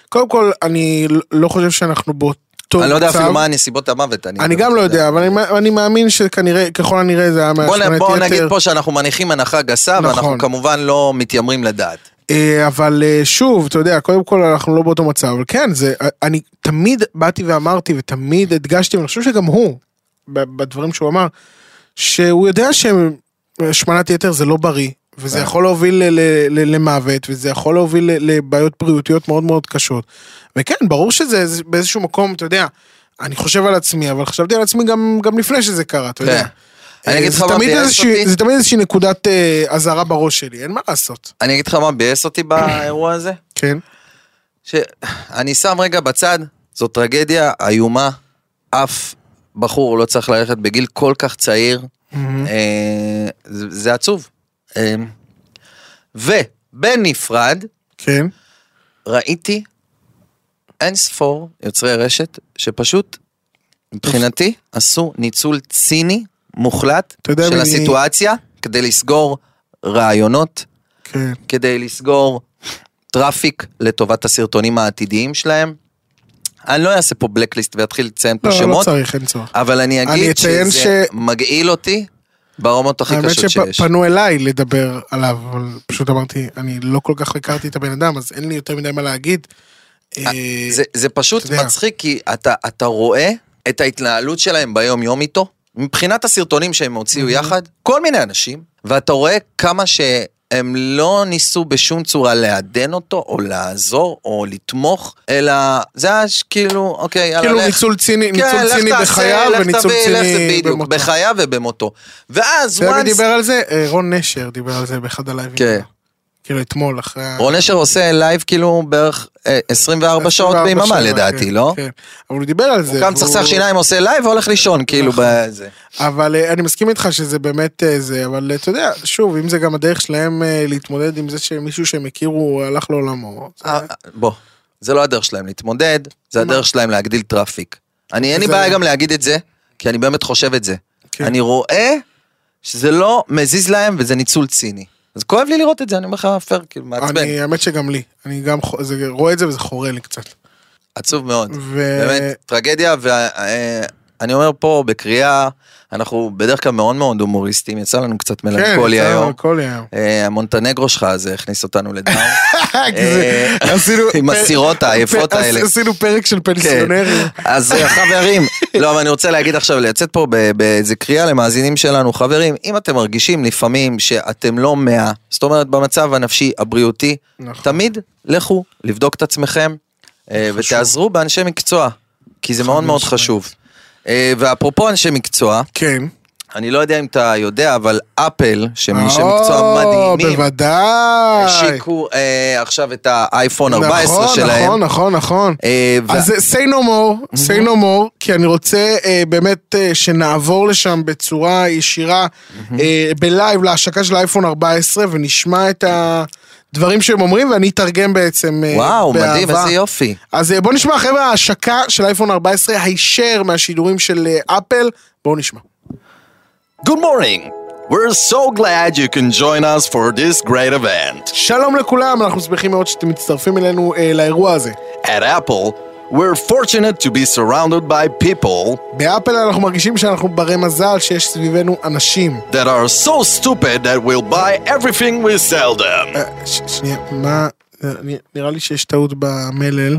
Speaker 2: קודם כל, אני לא חושב שאנחנו באותו
Speaker 3: אני לא יודע
Speaker 2: מצב.
Speaker 3: אפילו מה הנסיבות המוות.
Speaker 2: אני גם לא יודע, אבל אני, אני מאמין שכנראה, ככל הנראה זה היה
Speaker 3: בוא
Speaker 2: מהשמנת
Speaker 3: נ-
Speaker 2: יתר.
Speaker 3: בוא נגיד פה שאנחנו מניחים הנחה גסה, ואנחנו
Speaker 2: נכון.
Speaker 3: כמובן לא מתיימרים לדעת.
Speaker 2: אה, אבל אה, שוב, אתה יודע, קודם כל אנחנו לא באותו מצב, אבל כן, זה, אה, אני תמיד באתי ואמרתי ותמיד הדגשתי, ואני חושב שגם הוא, ב- בדברים שהוא אמר, שהוא יודע שהשמנת יתר זה לא בריא, וזה
Speaker 3: כן.
Speaker 2: יכול להוביל ל- ל- ל- למוות, וזה יכול להוביל ל- לבעיות בריאותיות מאוד מאוד קשות. וכן, ברור שזה איזה- באיזשהו מקום, אתה יודע, אני חושב על עצמי, אבל חשבתי על עצמי גם, גם לפני שזה קרה, אתה
Speaker 3: כן.
Speaker 2: יודע.
Speaker 3: אני
Speaker 2: אה,
Speaker 3: אגיד לך
Speaker 2: זה
Speaker 3: מה
Speaker 2: תמיד
Speaker 3: ביאס
Speaker 2: איזושהי-
Speaker 3: אותי.
Speaker 2: זה תמיד איזושהי נקודת אה, אזהרה בראש שלי, אין מה לעשות.
Speaker 3: אני כן. אגיד לך מה ביאס אותי באירוע הזה?
Speaker 2: כן.
Speaker 3: שאני שם רגע בצד זו טרגדיה איומה, אף בחור לא צריך ללכת בגיל כל כך צעיר, אה, זה זה עצוב. אה, ובנפרד,
Speaker 2: כן.
Speaker 3: ראיתי אין ספור יוצרי רשת שפשוט מבחינתי עשו ניצול ציני מוחלט
Speaker 2: אתה יודע
Speaker 3: של
Speaker 2: מי-
Speaker 3: הסיטואציה כדי לסגור רעיונות,
Speaker 2: כן.
Speaker 3: כדי לסגור טראפיק לטובת הסרטונים העתידיים שלהם. אני לא אעשה פה בלקליסט ואתחיל לציין פה
Speaker 2: לא, לא
Speaker 3: שמות,
Speaker 2: צריך, אין צורך.
Speaker 3: אבל אני
Speaker 2: אני
Speaker 3: אגיד
Speaker 2: אציין
Speaker 3: שזה
Speaker 2: ש-
Speaker 3: מגעיל אותי ברמות הכי
Speaker 2: האמת
Speaker 3: קשות שיש.
Speaker 2: שפנו אליי לדבר עליו, אבל פשוט אמרתי, אני לא כל כך הכרתי את הבן אדם, אז אין לי יותר מדי מה להגיד. אה,
Speaker 3: זה, זה פשוט
Speaker 2: אתה יודע.
Speaker 3: מצחיק, כי אתה, אתה רואה את ההתנהלות שלהם ביום-יום איתו, מבחינת הסרטונים שהם הוציאו יחד, כל מיני אנשים, ואתה רואה כמה שהם לא ניסו בשום צורה לעדן אותו, או לעזור, או לתמוך, אלא זה היה ש- כאילו, אוקיי, יאללה,
Speaker 2: כאילו
Speaker 3: לך.
Speaker 2: ניצול ציני,
Speaker 3: כן,
Speaker 2: ניצול
Speaker 3: לך
Speaker 2: ציני
Speaker 3: תעשה,
Speaker 2: בחייו
Speaker 3: לך
Speaker 2: וניצול
Speaker 3: תביא, לך זה
Speaker 2: ציני
Speaker 3: בדיוק,
Speaker 2: במותו.
Speaker 3: בחייו ובמותו. ואז,
Speaker 2: אתה יודע מי
Speaker 3: once-
Speaker 2: דיבר על זה? אה, רון נשר דיבר על זה באחד הלייבים.
Speaker 3: כן.
Speaker 2: כאילו אתמול אחרי... ה-
Speaker 3: רון אשר עושה לייב כאילו בערך אה, 24 שעות
Speaker 2: 24
Speaker 3: ביממה
Speaker 2: שבע,
Speaker 3: לדעתי,
Speaker 2: כן,
Speaker 3: לא?
Speaker 2: כן. אבל הוא דיבר על זה.
Speaker 3: הוא קם
Speaker 2: והוא-
Speaker 3: צחצח שיניים עושה לייב והולך לישון, כאילו,
Speaker 2: נכון.
Speaker 3: בזה.
Speaker 2: אבל אה, אני מסכים איתך שזה באמת אה, זה, אבל אה, אתה יודע, שוב, אם זה גם הדרך שלהם אה, להתמודד עם זה שמישהו שהם הכירו הלך לעולמו. זה-
Speaker 3: אה, בוא, זה לא הדרך שלהם להתמודד, זה הדרך שלהם להגדיל טראפיק. אני, אין לי
Speaker 2: זה-
Speaker 3: בעיה גם להגיד את זה, כי אני באמת חושב את זה.
Speaker 2: כן.
Speaker 3: אני רואה שזה לא מזיז להם וזה ניצול ציני. אז כואב לי לראות את זה, אני אומר לך, פייר, כאילו, מעצבן.
Speaker 2: אני, האמת שגם לי. אני גם חו- זה- רואה את זה וזה חורה לי קצת.
Speaker 3: עצוב מאוד.
Speaker 2: ו- אה,
Speaker 3: באמת, טרגדיה, ואני אומר פה בקריאה, אנחנו בדרך כלל מאוד מאוד הומוריסטים, יצא לנו קצת מלנכולי
Speaker 2: כן, יצא
Speaker 3: היום.
Speaker 2: מלנכולי היום.
Speaker 3: אה, המונטנגרו שלך הזה הכניס
Speaker 2: <laughs>
Speaker 3: אותנו כן. לדאון.
Speaker 2: כזה,
Speaker 3: אה,
Speaker 2: עשינו...
Speaker 3: עם
Speaker 2: פר-
Speaker 3: הסירות היפות
Speaker 2: פר-
Speaker 3: האלה.
Speaker 2: עשינו פרק של פנסיונרים.
Speaker 3: כן. אז אה, חברים, לא, אבל אני רוצה להגיד עכשיו, לצאת פה ב- באיזה קריאה למאזינים שלנו, חברים, אם אתם מרגישים לפעמים שאתם לא מאה, זאת אומרת במצב הנפשי הבריאותי,
Speaker 2: נכון.
Speaker 3: תמיד לכו לבדוק את עצמכם אה, ותעזרו באנשי מקצוע, כי זה מאוד מאוד
Speaker 2: משמעית.
Speaker 3: חשוב. אה, ואפרופו אנשי מקצוע,
Speaker 2: כן.
Speaker 3: אני לא יודע אם אתה יודע, אבל אפל, שהם אנשי מקצוע מדהימים,
Speaker 2: בוודאי.
Speaker 3: השיקו אה, עכשיו את האייפון 14
Speaker 2: נכון,
Speaker 3: שלהם.
Speaker 2: נכון, נכון, נכון.
Speaker 3: אה, ו-
Speaker 2: אז אה, say no more, say no more, כי אני רוצה אה, באמת אה, שנעבור לשם בצורה ישירה, אה, בלייב להשקה של האייפון 14, ונשמע את הדברים שהם אומרים, ואני אתרגם בעצם אה,
Speaker 3: וואו, מדהים,
Speaker 2: באהבה.
Speaker 3: איזה יופי.
Speaker 2: אז אה, בואו נשמע, חבר'ה, ההשקה של אייפון 14, הישר מהשידורים של אה, אפל, בואו נשמע.
Speaker 3: Good morning. We're so glad you can join us for this great event.
Speaker 2: שלום לכולם, אנחנו שמחים מאוד שאתם מצטרפים אלינו אה, לאירוע הזה.
Speaker 3: At Apple, we're fortunate to be surrounded by people
Speaker 2: באפל אנחנו מרגישים שאנחנו ברי מזל שיש סביבנו אנשים.
Speaker 3: that are so stupid that will buy everything we sell them,
Speaker 2: אה, ש- שנייה, מה... אה, נ- נראה לי שיש טעות במלל.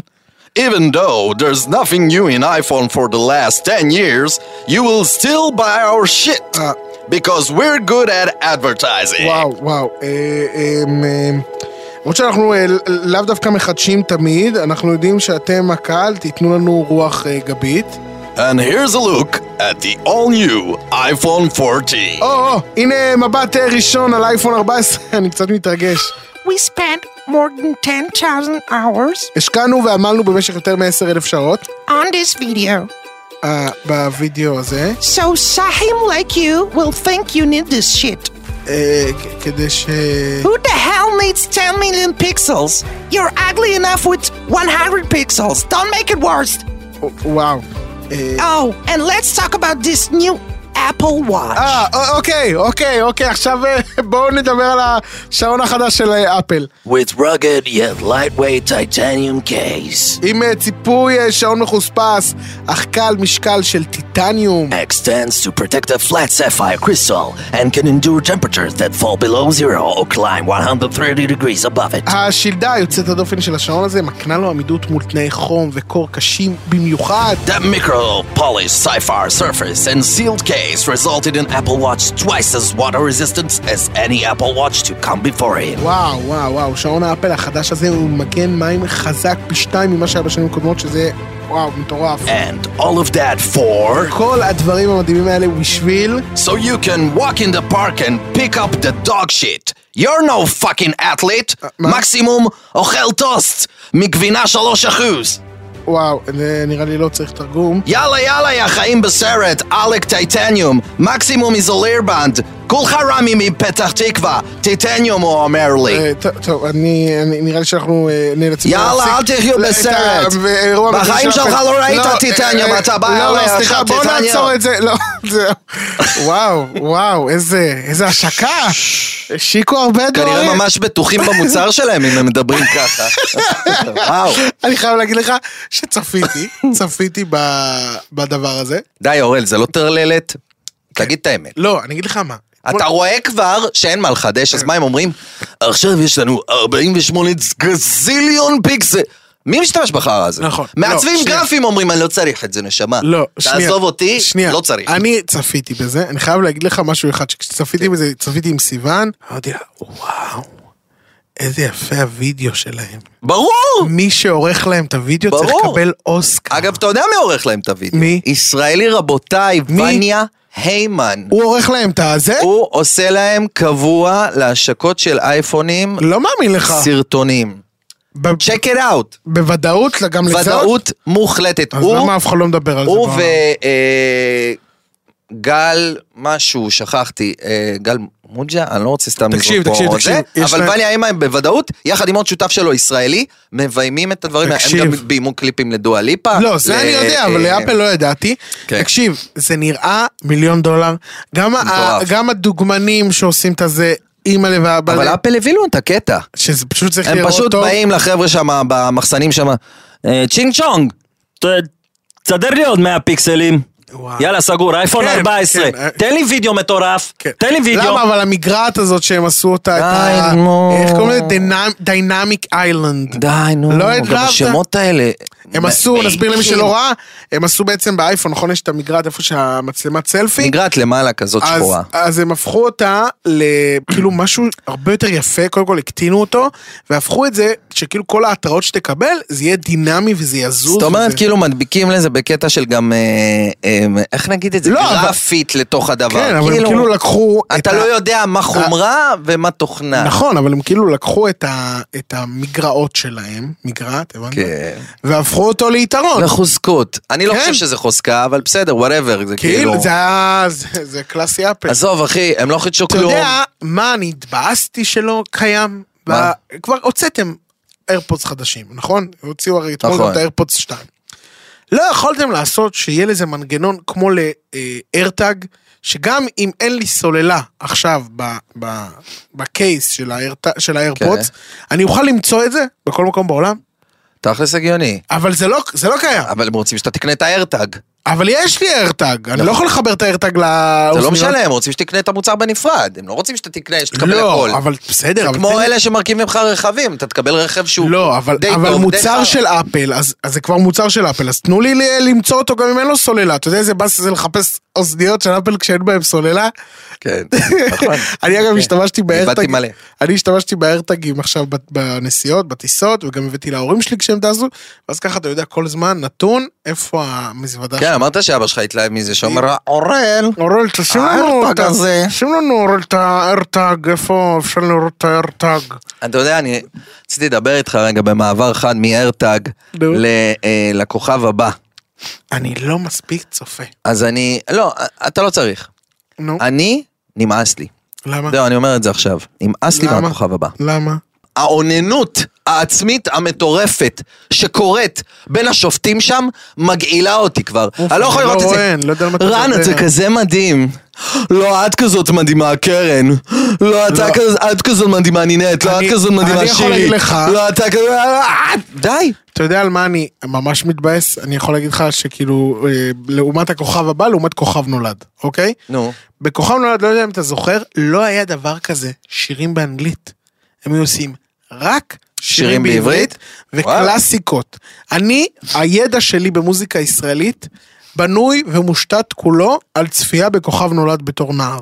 Speaker 3: even though there's nothing new in iPhone for the last 10 years. You will still buy our shit
Speaker 2: אה,
Speaker 3: because we're good at advertising.
Speaker 2: וואו, וואו. אה, אה, אה, למרות שאנחנו אה, ל- לאו דווקא מחדשים תמיד, אנחנו יודעים שאתם הקהל, תיתנו לנו רוח אה, גבית.
Speaker 3: And here's a look at the all-new iPhone 14.
Speaker 1: Oh.
Speaker 2: או, או, הנה מבט אה, ראשון על אייפון 14, <laughs> אני קצת מתרגש.
Speaker 6: We spent more than 10,000 hours
Speaker 2: השקענו ועמלנו במשך יותר מ-10 אלף שעות
Speaker 6: on this video.
Speaker 2: אה, בווידאו הזה,
Speaker 6: So Sahim like you will think you need this shit.
Speaker 2: אה, כ- כדי ש...
Speaker 6: Who the hell needs 10 million pixels? You're ugly enough with 100 pixels. Don't make it worse.
Speaker 2: וואו. אה,
Speaker 6: Oh, and let's talk about this new Apple Watch.
Speaker 2: אה, א- אוקיי, אוקיי, אוקיי, עכשיו אה, בואו נדבר על השעון החדש של אה, אפל.
Speaker 1: With rugged yet lightweight titanium case,
Speaker 2: עם אה, ציפוי אה, שעון מחוספס, אך קל משקל של טיטניום.
Speaker 1: extends to protect a flat sapphire crystal and can endure temperatures that fall below zero or climb 130 degrees above it.
Speaker 2: השלדה היוצאת הדופן של השעון הזה מקנה לו עמידות מול תנאי חום וקור קשים במיוחד.
Speaker 1: The micro polished sapphire surface and sealed case resulted in Apple Watch twice as water resistant as any Apple Watch to come before it.
Speaker 2: וואו, וואו, וואו, שעון האפל החדש הזה הוא מגן מים חזק פי שתיים ממה שהיה בשנים הקודמות, שזה, וואו, מטורף.
Speaker 1: And all of that for.
Speaker 2: כל הדברים המדהימים האלה הוא בשביל...
Speaker 1: So you can walk in the park and pick up the dog shit. You're no fucking athlete.
Speaker 2: מה?
Speaker 1: מקסימום אוכל טוסט מגבינה 3 אחוז.
Speaker 2: וואו, זה נראה לי לא צריך תרגום.
Speaker 3: יאללה יאללה יא חיים בסרט, עלק טייטניום, מקסימום איזולירבנד, כולך רמי מפתח תקווה, טייטניום הוא אומר לי.
Speaker 2: אה, ט- טוב, אני, אני- נראה לי שאנחנו אה, נאלצים
Speaker 3: אוקיי. יאללה, אל תחיו
Speaker 2: את
Speaker 3: בסרט.
Speaker 2: ה- האירוע
Speaker 3: בחיים
Speaker 2: המביש
Speaker 3: שלך
Speaker 2: הזה.
Speaker 3: לא ראית
Speaker 2: אה,
Speaker 3: טיטניום,
Speaker 2: אה,
Speaker 3: אתה בא אליי
Speaker 2: לא, לא, סליחה,
Speaker 3: עכשיו,
Speaker 2: בוא
Speaker 3: טיטניום.
Speaker 2: נעצור את זה, <laughs> לא, זה- וואו, וואו, איזה, איזה השקה. השיקו הרבה דברים.
Speaker 3: כנראה ממש בטוחים במוצר שלהם אם הם מדברים ככה. וואו.
Speaker 2: אני חייב להגיד לך שצפיתי, <laughs> צפיתי ב- בדבר הזה.
Speaker 3: די אורל, זה לא טרללת? תגיד את האמת.
Speaker 2: לא, אני אגיד לך מה.
Speaker 3: אתה רואה כבר שאין מה לחדש, אז
Speaker 2: כן.
Speaker 3: מה הם אומרים? עכשיו יש לנו 48 גזיליון פיקסל. מי משתמש בחרא הזה?
Speaker 2: נכון.
Speaker 3: מעצבים
Speaker 2: לא, שנייה.
Speaker 3: גרפים אומרים, אני לא צריך את זה, נשמה.
Speaker 2: לא, שנייה.
Speaker 3: תעזוב אותי,
Speaker 2: שנייה.
Speaker 3: לא צריך.
Speaker 2: אני צפיתי בזה, אני חייב להגיד לך משהו אחד,
Speaker 3: כן.
Speaker 2: שכשצפיתי בזה, צפיתי עם סיוון, אמרתי לה, וואו, איזה יפה הוידאו שלהם.
Speaker 3: ברור!
Speaker 2: מי שעורך להם את הוידאו צריך
Speaker 3: ברור.
Speaker 2: לקבל אוסקר.
Speaker 3: אגב, אתה יודע מי עורך להם את הוידאו?
Speaker 2: מי?
Speaker 3: ישראלי רבותיי, וניה היימן.
Speaker 2: הוא עורך להם את הזה?
Speaker 3: הוא עושה להם קבוע להשקות של אייפונים,
Speaker 2: לא מאמין לך.
Speaker 3: סרטונים.
Speaker 2: ב-
Speaker 3: צ'ק את אאוט.
Speaker 2: בוודאות, גם לזה?
Speaker 3: ודאות מוחלטת.
Speaker 2: אז
Speaker 3: הוא-
Speaker 2: למה אף אחד לא מדבר על זה?
Speaker 3: הוא
Speaker 2: בעולם?
Speaker 3: וגל משהו, שכחתי, אה, גל מוג'ה, אני לא רוצה סתם
Speaker 2: תקשיב,
Speaker 3: לזרוק פה
Speaker 2: תקשיב,
Speaker 3: זה,
Speaker 2: תקשיב, יש
Speaker 3: אבל
Speaker 2: להם-
Speaker 3: וניה אימן בוודאות, יחד עם עוד שותף שלו, ישראלי, מביימים את הדברים, האלה. הם
Speaker 2: תקשיב.
Speaker 3: גם ביימו קליפים לדואה ליפה.
Speaker 2: לא, זה
Speaker 3: ל-
Speaker 2: אני יודע, אבל
Speaker 3: אה,
Speaker 2: לאפל לא ידעתי.
Speaker 3: כן.
Speaker 2: תקשיב, זה נראה מיליון דולר. גם ה-
Speaker 3: מטורף.
Speaker 2: גם הדוגמנים שעושים את הזה, אימא'לה ואבא.
Speaker 3: אבל אפל הביאו לו את הקטע.
Speaker 2: שזה פשוט צריך
Speaker 3: הם
Speaker 2: לראות
Speaker 3: פשוט
Speaker 2: טוב.
Speaker 3: באים לחבר'ה שם, במחסנים שם, אה, צ'ינג צ'ונג,
Speaker 5: ת- תסדר לי עוד 100 פיקסלים.
Speaker 2: וואו.
Speaker 5: יאללה, סגור, אייפון
Speaker 2: כן,
Speaker 5: 14.
Speaker 2: כן, אה.
Speaker 5: תן לי וידאו מטורף.
Speaker 2: כן.
Speaker 5: תן לי וידאו.
Speaker 2: למה? אבל המגרעת הזאת שהם עשו אותה, את ה-
Speaker 3: די, נו.
Speaker 2: איך קוראים לזה? דיינמ- דיינמיק איילנד.
Speaker 3: די, נו,
Speaker 2: לא
Speaker 3: גם
Speaker 2: התלהבת?
Speaker 3: השמות האלה.
Speaker 2: הם עשו, נסביר למי שלא ראה, הם עשו בעצם באייפון, נכון? יש את המגרעת איפה שהמצלמת סלפי.
Speaker 3: נגרעת למעלה כזאת
Speaker 2: אז,
Speaker 3: שחורה.
Speaker 2: אז הם הפכו אותה לכאילו משהו הרבה יותר יפה, קודם כל הקטינו אותו, והפכו את זה שכאילו כל ההתראות שתקבל, זה יהיה דינמי וזה יזוז.
Speaker 3: זאת אומרת,
Speaker 2: וזה...
Speaker 3: כאילו מדביקים לזה בקטע של גם, אה, אה, איך נגיד את זה,
Speaker 2: לא, אבל-
Speaker 3: גרפית לתוך הדבר.
Speaker 2: כן, אבל הם כאילו לקחו... את
Speaker 3: אתה
Speaker 2: ה- אה,
Speaker 3: לא יודע מה חומרה ומה תוכנה.
Speaker 2: נכון, אבל הם כאילו לקחו את, ה... את המגרעות שלהם, מגרעת, הבנת?
Speaker 3: כן. נכון.
Speaker 2: והפכו אותו ליתרון.
Speaker 3: לחוזקות. אני לא
Speaker 2: כן.
Speaker 3: חושב שזה חוזקה, אבל בסדר, וואטאבר, זה כאילו...
Speaker 2: כאילו, זה היה... זה, זה קלאסי אפל.
Speaker 3: עזוב, אחי, הם לא חידשו
Speaker 2: אתה
Speaker 3: כלום.
Speaker 2: יודע מה אני התבאסתי שלא קיים?
Speaker 3: מה?
Speaker 2: ב- כבר הוצאתם איירפודס חדשים, נכון? הוציאו הרי אתמול גם
Speaker 3: נכון.
Speaker 2: את האיירפודס 2. לא יכולתם לעשות שיהיה לזה מנגנון כמו לאיירטג, שגם אם אין לי סוללה עכשיו ב- ב- בקייס של האיירט- של האיירפודס,
Speaker 3: כן.
Speaker 2: אני אוכל למצוא את זה בכל מקום בעולם,
Speaker 3: תכלס הגיוני.
Speaker 2: אבל זה לא- זה לא קיים.
Speaker 3: אבל הם רוצים שאתה תקנה את האיירטאג.
Speaker 2: אבל יש לי איירטג, אני לא יכול לחבר את האיירטג לאוזניות.
Speaker 3: זה נכון. לא משנה, הם רוצים שתקנה את המוצר בנפרד. הם לא רוצים שאתה תקנה, שתקבל הכל.
Speaker 2: לא, אבל בסדר.
Speaker 3: זה
Speaker 2: אבל תן
Speaker 3: כמו
Speaker 2: לי-
Speaker 3: אלה שמרכיבים לך רכבים, אתה תקבל רכב שהוא
Speaker 2: לא, אבל,
Speaker 3: די
Speaker 2: אבל
Speaker 3: טוב, די
Speaker 2: מוצר
Speaker 3: חרא.
Speaker 2: של אפל, אז, אז זה כבר מוצר של אפל, אז תנו לי ל- למצוא אותו גם אם אין לו סוללה. אתה יודע איזה באס זה לחפש אוזניות של אפל כשאין בהם סוללה?
Speaker 3: כן, נכון.
Speaker 2: <laughs> אני אגב השתמשתי באיירטג,
Speaker 3: מלא.
Speaker 2: אני השתמשתי באיירטגים עכשיו ב- בנסיעות, בטיסות, וגם הבאתי להורים שלי כשהם טסו, ואז ככה אתה יודע כל זמן נתון איפה המזוודה
Speaker 3: כן, אמרת שאבא שלך התלהב מזה, שאומר, אורל,
Speaker 2: אורל, תשים לנו את
Speaker 3: האיירטג
Speaker 2: ה-
Speaker 3: הזה.
Speaker 2: שים לנו אורל את האיירטג, איפה אפשר לראות את האיירטג?
Speaker 3: אתה יודע, אני רציתי לדבר איתך רגע במעבר חד מאיירטאג
Speaker 2: נו.
Speaker 3: ל- אה, לכוכב הבא.
Speaker 2: אני לא מספיק צופה.
Speaker 3: אז אני, לא, אתה לא צריך.
Speaker 2: נו,
Speaker 3: אני, נמאס לי.
Speaker 2: למה?
Speaker 3: זהו, אני אומר את זה עכשיו. נמאס לי
Speaker 2: למה?
Speaker 3: מהכוכב הבא.
Speaker 2: למה?
Speaker 3: האוננות העצמית המטורפת שקורית בין השופטים שם, מגעילה אותי כבר. אני לא יכול
Speaker 2: אני
Speaker 3: לראות
Speaker 2: לא
Speaker 3: את
Speaker 2: רואה,
Speaker 3: זה.
Speaker 2: אני לא יודע על מה אתה
Speaker 3: רן,
Speaker 2: מדבר.
Speaker 3: אתה כזה מדהים. לא, את כזאת מדהימה, קרן. לא, אתה כזאת- את כזאת מדהימה, נינת. לא, את
Speaker 2: אני-
Speaker 3: כזאת
Speaker 2: אני
Speaker 3: מדהימה,
Speaker 2: יכול
Speaker 3: שירי.
Speaker 2: להגיד לך-
Speaker 3: לא, אתה כזאת... די.
Speaker 2: אתה יודע על מה אני ממש מתבאס? אני יכול להגיד לך שכאילו, אה, לעומת הכוכב הבא, לעומת כוכב נולד, אוקיי?
Speaker 3: נו.
Speaker 2: בכוכב נולד, לא יודע אם אתה זוכר, לא היה דבר כזה שירים באנגלית. הם היו עושים רק שירים,
Speaker 3: שירים
Speaker 2: בעברית
Speaker 3: בעברית?
Speaker 2: וקלאסיקות. אני, הידע שלי במוזיקה הישראלית בנוי ומושתת כולו על צפייה בכוכב נולד בתור נער.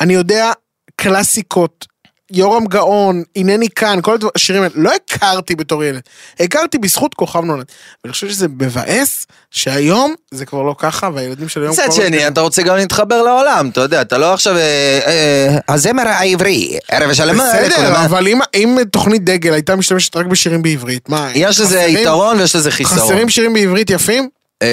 Speaker 2: אני יודע קלאסיקות יורם גאון, הנני כאן, כל הדבר- השירים האלה, לא הכרתי בתור ילד. הכרתי בזכות כוכב נולד. ואני חושב שזה מבאס שהיום זה כבר לא ככה, והילדים של היום כבר...
Speaker 3: מצד
Speaker 2: לא-
Speaker 3: שני, אתה רוצה גם להתחבר לעולם, אתה יודע, אתה לא עכשיו... אה, אה, הזמר העברי, ערב השלמה,
Speaker 2: בסדר,
Speaker 3: לכולם.
Speaker 2: אבל אם, אם תוכנית דגל הייתה משתמשת רק בשירים בעברית, מה?
Speaker 3: יש לזה
Speaker 2: חסרים-
Speaker 3: יתרון ויש לזה חיסרון.
Speaker 2: חסרים שירים בעברית יפים?
Speaker 3: אה,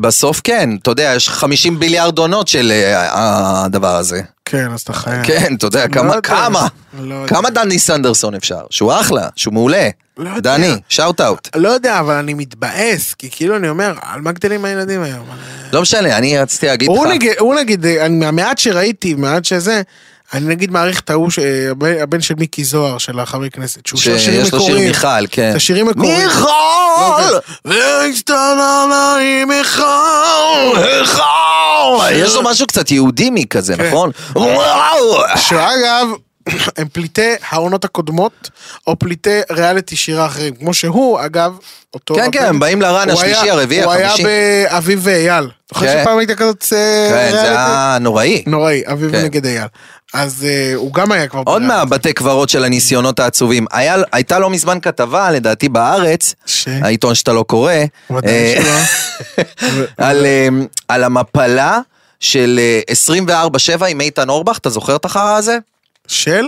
Speaker 3: בסוף כן, אתה יודע, יש 50 ביליארד עונות של אה, הדבר הזה.
Speaker 2: כן, אז אתה חייב.
Speaker 3: כן, אתה יודע,
Speaker 2: לא
Speaker 3: כמה,
Speaker 2: יודע.
Speaker 3: כמה,
Speaker 2: לא יודע.
Speaker 3: כמה דני סנדרסון אפשר? שהוא אחלה, שהוא מעולה.
Speaker 2: לא יודע.
Speaker 3: דני, שאוט אאוט.
Speaker 2: לא יודע, אבל אני מתבאס, כי כאילו אני אומר, על מה גדלים הילדים היום?
Speaker 3: לא משנה, אני רציתי להגיד לך.
Speaker 2: הוא נגיד, הוא נגיד, אה, אני- מהמעט שראיתי, מהמעט שזה, אני נגיד מעריך את ההוא, ש- אה, הבן- הבן של מיקי זוהר, של החבר כנסת, שהוא שר שירים
Speaker 3: שיש לו שיר
Speaker 2: מקוריים.
Speaker 3: מיכל, כן.
Speaker 2: את השירים מקוריים. לא, כן.
Speaker 3: מיכל!
Speaker 2: והשתנה לי מיכל. אה.
Speaker 3: מיכל! יש לו משהו קצת יהודימי כזה,
Speaker 2: כן.
Speaker 3: נכון? וואו!
Speaker 2: אה. שאגב, <clears throat> הם פליטי העונות הקודמות, או פליטי ריאליטי שירה אחרים. כמו שהוא, אגב, אותו...
Speaker 3: כן, כן, הם באים לרן
Speaker 2: הוא היה-
Speaker 3: השלישי, הרביעי, החמישי.
Speaker 2: הוא היה באביב ואייל. אתה חושב
Speaker 3: כן.
Speaker 2: שפעם הייתה כזאת אה,
Speaker 3: כן, זה
Speaker 2: ריאליטי?
Speaker 3: היה נוראי.
Speaker 2: נוראי, אביב
Speaker 3: כן.
Speaker 2: נגד אייל. אז אה, הוא גם היה כבר...
Speaker 3: עוד
Speaker 2: בריאליטי.
Speaker 3: מהבתי קברות של הניסיונות העצובים. היה- הייתה לא מזמן כתבה, לדעתי בארץ,
Speaker 2: ש?
Speaker 3: העיתון שאתה לא קורא,
Speaker 2: ודאי
Speaker 3: אה,
Speaker 2: שלא.
Speaker 3: על, אה, על המפלה של אה, 24-7 עם איתן אורבך, אתה זוכר את החרא הזה?
Speaker 2: של?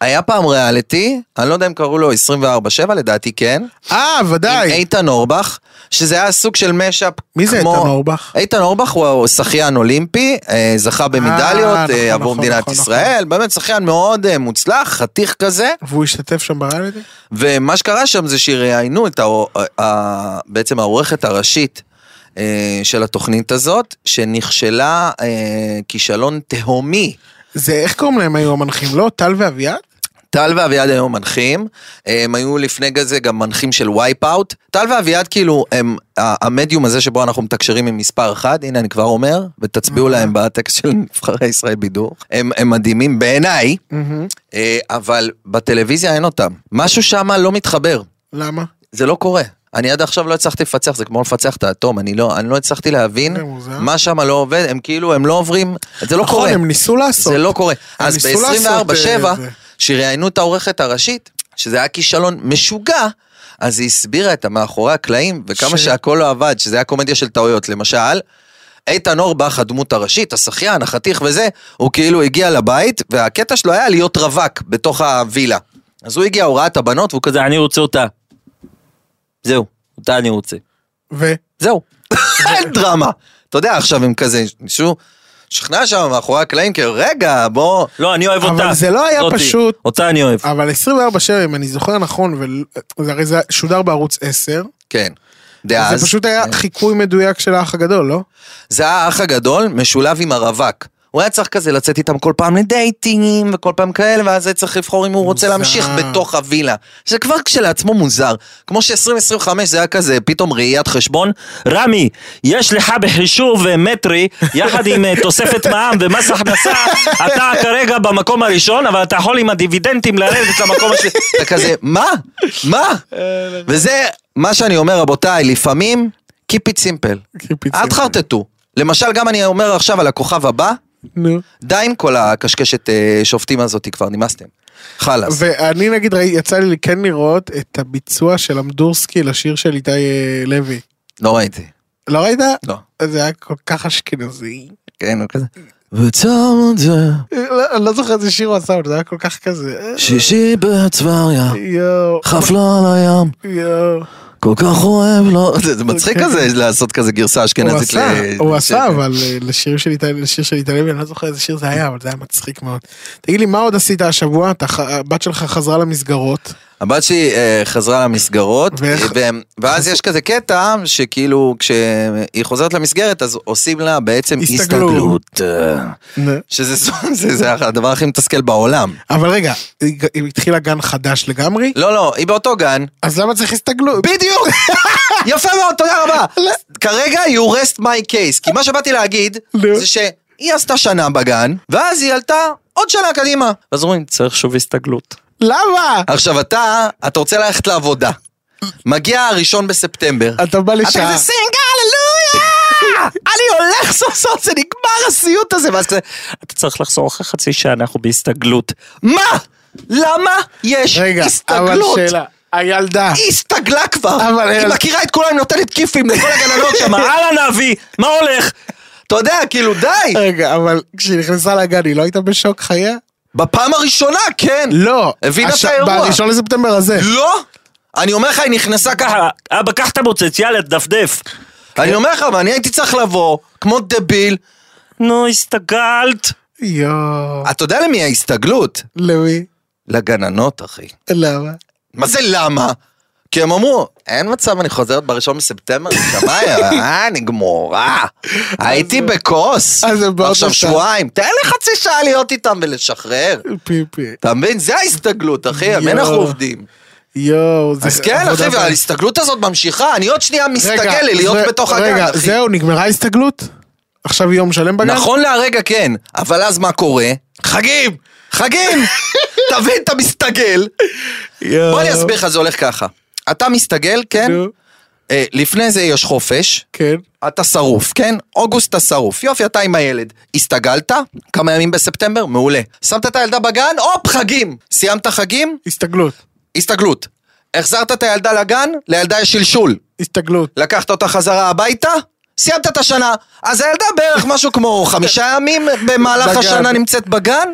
Speaker 3: היה פעם ריאליטי, אני לא יודע אם קראו לו 24-7, לדעתי כן.
Speaker 2: אה,
Speaker 3: עם
Speaker 2: ודאי.
Speaker 3: איתן אורבך, שזה היה סוג של משאפ
Speaker 2: מי זה
Speaker 3: כמו-
Speaker 2: איתן אורבך?
Speaker 3: איתן אורבך הוא שחיין אולימפי, אה, זכה במדליות
Speaker 2: נכון,
Speaker 3: אה, עבור
Speaker 2: נכון,
Speaker 3: מדינת
Speaker 2: נכון,
Speaker 3: ישראל, באמת שחיין מאוד אה, מוצלח, חתיך כזה,
Speaker 2: והוא השתתף שם בריאליטי?
Speaker 3: ומה שקרה שם זה שראיינו את האו- ה- ה- בעצם העורכת הראשית אה, של התוכנית הזאת, שנכשלה אה, כישלון תהומי.
Speaker 2: זה, איך קוראים להם היו המנחים? לא, טל ואביעד?
Speaker 3: טל ואביעד היו מנחים, הם היו לפני זה גם מנחים של וייפ אאוט. טל ואביעד כאילו הם ה- המדיום הזה שבו אנחנו מתקשרים עם מספר אחד, הנה אני כבר אומר, ותצביעו להם בטקסט של נבחרי ישראל בידור. הם, הם מדהימים בעיניי, אה, אבל בטלוויזיה אין אותם. משהו שם לא מתחבר,
Speaker 2: למה?
Speaker 3: זה לא קורה. אני עד עכשיו לא הצלחתי לפצח, זה כמו לפצח את האטום, אני לא, אני לא הצלחתי להבין
Speaker 2: זה מוזר.
Speaker 3: מה שם לא עובד, הם כאילו, הם לא עוברים, זה לא
Speaker 2: נכון,
Speaker 3: קורה.
Speaker 2: הם ניסו לעשות.
Speaker 3: זה לא קורה.
Speaker 2: הם
Speaker 3: אז
Speaker 2: ניסו
Speaker 3: ב-24-7,
Speaker 2: לעשות, אה, זה.
Speaker 3: שראיינו את העורכת הראשית, שזה היה כישלון משוגע, אז היא הסבירה את המאחורי הקלעים, וכמה
Speaker 2: ש-
Speaker 3: שהכל לא עבד, שזה היה קומדיה של טעויות. למשל, איתן אורבך, הדמות הראשית, השחיין, החתיך וזה, הוא כאילו הגיע לבית, והקטע שלו היה להיות רווק בתוך הווילה. אז הוא הגיע, הוא ראה את הבנות, והוא כזה,
Speaker 5: כזה, אני רוצה אותה. זהו, אותה אני רוצה.
Speaker 2: ו?
Speaker 3: זהו. <laughs> אין דרמה. אתה יודע, עכשיו הם כזה, מישהו שכנע שם מאחורי הקלעים, כאילו, רגע, בוא...
Speaker 5: לא, אני אוהב
Speaker 2: אבל
Speaker 5: אותה.
Speaker 2: זה לא היה
Speaker 5: זאתי.
Speaker 2: פשוט.
Speaker 5: אותה אני אוהב.
Speaker 2: אבל 24-7, אם אני זוכר נכון, ו- זה הרי זה שודר בערוץ 10,
Speaker 3: כן.
Speaker 2: אז... אה.
Speaker 3: דאז.
Speaker 2: זה פשוט היה חיקוי מדויק של האח הגדול, לא?
Speaker 3: זה היה האח הגדול משולב עם הרווק. הוא היה צריך כזה לצאת איתם כל פעם לדייטים וכל פעם כאלה, ואז היה צריך לבחור אם הוא רוצה
Speaker 2: מוזר.
Speaker 3: להמשיך בתוך הווילה. שזה כבר כשלעצמו מוזר. כמו ש-2025 זה היה כזה פתאום ראיית חשבון.
Speaker 5: רמי, יש לך בחישוב אה, מטרי, יחד עם אה, תוספת מע"מ ומס הכנסה, אתה כרגע במקום הראשון, אבל אתה יכול עם הדיבידנדים לרדת למקום השני.
Speaker 3: אתה כזה, מה? מה? וזה מה שאני אומר, רבותיי, לפעמים, keep it simple.
Speaker 2: Keep it
Speaker 3: אל
Speaker 2: simple.
Speaker 3: תחרטטו. למשל, גם אני אומר עכשיו על הכוכב הבא,
Speaker 2: נו.
Speaker 3: די עם כל הקשקשת אה, שופטים הזאת כבר, נמאסתם. חלאס.
Speaker 2: ואני נגיד, ראי, יצא לי כן לראות את הביצוע של אמדורסקי לשיר של איתי אה, לוי.
Speaker 3: לא ראיתי.
Speaker 2: לא ראית?
Speaker 3: לא.
Speaker 2: זה היה כל כך אשכנזי.
Speaker 3: כן, הוא כזה. וצום זה
Speaker 2: אה, לא- אני לא זוכר איזה שיר הוא עשה, אבל זה היה כל כך כזה. אה,
Speaker 3: שישי בטבריה,
Speaker 2: יואו,
Speaker 3: חף לו על הים,
Speaker 2: יואו.
Speaker 3: כל כך אוהב לו. <laughs> זה זה מצחיק כזה לעשות כזה גרסה
Speaker 2: הוא
Speaker 3: אשכנזית.
Speaker 2: עשה,
Speaker 3: ל-
Speaker 2: הוא
Speaker 3: ל-
Speaker 2: עשה, אבל אה, לשיר של איטליה, לשיר של איטליה, אני לא זוכר איזה שיר זה היה, אבל זה היה מצחיק מאוד. תגיד לי, מה עוד עשית השבוע? אתה ח- הבת שלך חזרה למסגרות.
Speaker 3: הבת שלי אה, חזרה למסגרות,
Speaker 2: ואיך-
Speaker 3: ו- ואז יש כזה קטע שכאילו כשהיא חוזרת למסגרת אז עושים לה בעצם
Speaker 2: הסתגלות.
Speaker 3: הסתגלות. אה,
Speaker 2: נו.
Speaker 3: שזה ס- <laughs> זה- זה הדבר הכי מתסכל בעולם.
Speaker 2: אבל רגע, היא ג- היא התחילה גן חדש לגמרי,
Speaker 3: לא, לא, היא
Speaker 2: <laughs>
Speaker 3: באותו גן.
Speaker 2: אז למה צריך הסתגלות?
Speaker 3: בדיוק! יפה מאוד, תודה רבה.
Speaker 2: לא.
Speaker 3: כרגע you rest my case, כי מה שבאתי להגיד,
Speaker 2: נו.
Speaker 3: זה שהיא עשתה שנה בגן, ואז היא עלתה עוד שנה קדימה. ואז אומרים,
Speaker 5: צריך שוב הסתגלות.
Speaker 2: <laughs> למה?
Speaker 3: עכשיו אתה, אתה רוצה ללכת לעבודה. מגיע הראשון בספטמבר.
Speaker 2: אתה בא
Speaker 3: אתה
Speaker 2: לשעה.
Speaker 3: כזה סינג, הללויה! אני הולך סוף סוף, זה נגמר הסיוט הזה, ואז כזה,
Speaker 5: אתה צריך לחזור אחרי חצי שעה, אנחנו בהסתגלות.
Speaker 3: מה? למה יש
Speaker 2: רגע, אבל
Speaker 3: הסתגלות?
Speaker 2: שאלה. הילדה.
Speaker 3: היא הסתגלה כבר,
Speaker 2: אבל
Speaker 3: היא
Speaker 2: אל-
Speaker 3: מכירה את כולם, היא נותנת כיפים לכל הגננות שם, אה?
Speaker 5: מה, אהלן אבי, מה הולך?
Speaker 3: אתה יודע, כאילו די,
Speaker 2: רגע, אבל כשהיא נכנסה לגן היא לא הייתה בשוק חייה?
Speaker 3: בפעם הראשונה, כן.
Speaker 2: לא.
Speaker 3: הבינה את
Speaker 2: הש-
Speaker 3: האירוע.
Speaker 2: בראשון לספטמבר הזה.
Speaker 3: לא? אני אומר לך, היא נכנסה ככה,
Speaker 5: ככה, אה, אבא, קח את המוצץ, יאללה, תדפדף.
Speaker 3: אני אומר לך, ואני הייתי צריך לבוא, כמו דביל,
Speaker 5: נו, הסתגלת.
Speaker 2: יואו.
Speaker 3: אתה יודע למי ההסתגלות?
Speaker 2: למי?
Speaker 3: לגננות, אחי.
Speaker 2: למה?
Speaker 3: מה זה למה? כי הם אמרו, אין מצב, אני חוזרת בראשון בספטמבר, נשמה,
Speaker 2: <laughs>
Speaker 3: אה, נגמורה. הייתי בכוס.
Speaker 2: אז הם באות
Speaker 3: עכשיו
Speaker 2: לשם.
Speaker 3: שבועיים, תן לי חצי שעה להיות איתם ולשחרר.
Speaker 2: פיפי.
Speaker 3: אתה מבין? זה ההסתגלות, אחי, על מי אנחנו
Speaker 2: יואו.
Speaker 3: עובדים?
Speaker 2: יואו. זה
Speaker 3: אז כן,
Speaker 2: עבודה
Speaker 3: אחי,
Speaker 2: בעיה.
Speaker 3: וההסתגלות הזאת ממשיכה, אני עוד שנייה
Speaker 2: רגע,
Speaker 3: מסתגל לי להיות
Speaker 2: זה-
Speaker 3: בתוך הגן,
Speaker 2: רגע,
Speaker 3: אחי.
Speaker 2: זהו, נגמרה ההסתגלות? עכשיו יום שלם בגן?
Speaker 3: נכון להרגע כן, אבל אז מה קורה? חגים!
Speaker 2: <laughs>
Speaker 3: חגים! תבין, אתה מסתגל.
Speaker 2: יואו.
Speaker 3: בוא אני אסביר לך, זה הולך ככה. אתה מסתגל, כן?
Speaker 2: נו,
Speaker 3: אה, לפני זה יש חופש,
Speaker 2: כן.
Speaker 3: אתה שרוף, כן? אוגוסט אתה שרוף. יופי, אתה עם הילד. הסתגלת? כמה ימים בספטמבר? מעולה. שמת את הילדה בגן? הופ, חגים! סיימת חגים?
Speaker 2: הסתגלות.
Speaker 3: הסתגלות. החזרת את הילדה לגן? לילדה יש שלשול.
Speaker 2: הסתגלות.
Speaker 3: לקחת אותה חזרה הביתה? סיימת את השנה. אז הילדה בערך
Speaker 2: <laughs>
Speaker 3: משהו כמו חמישה ימים במהלך
Speaker 2: בגן.
Speaker 3: השנה נמצאת בגן?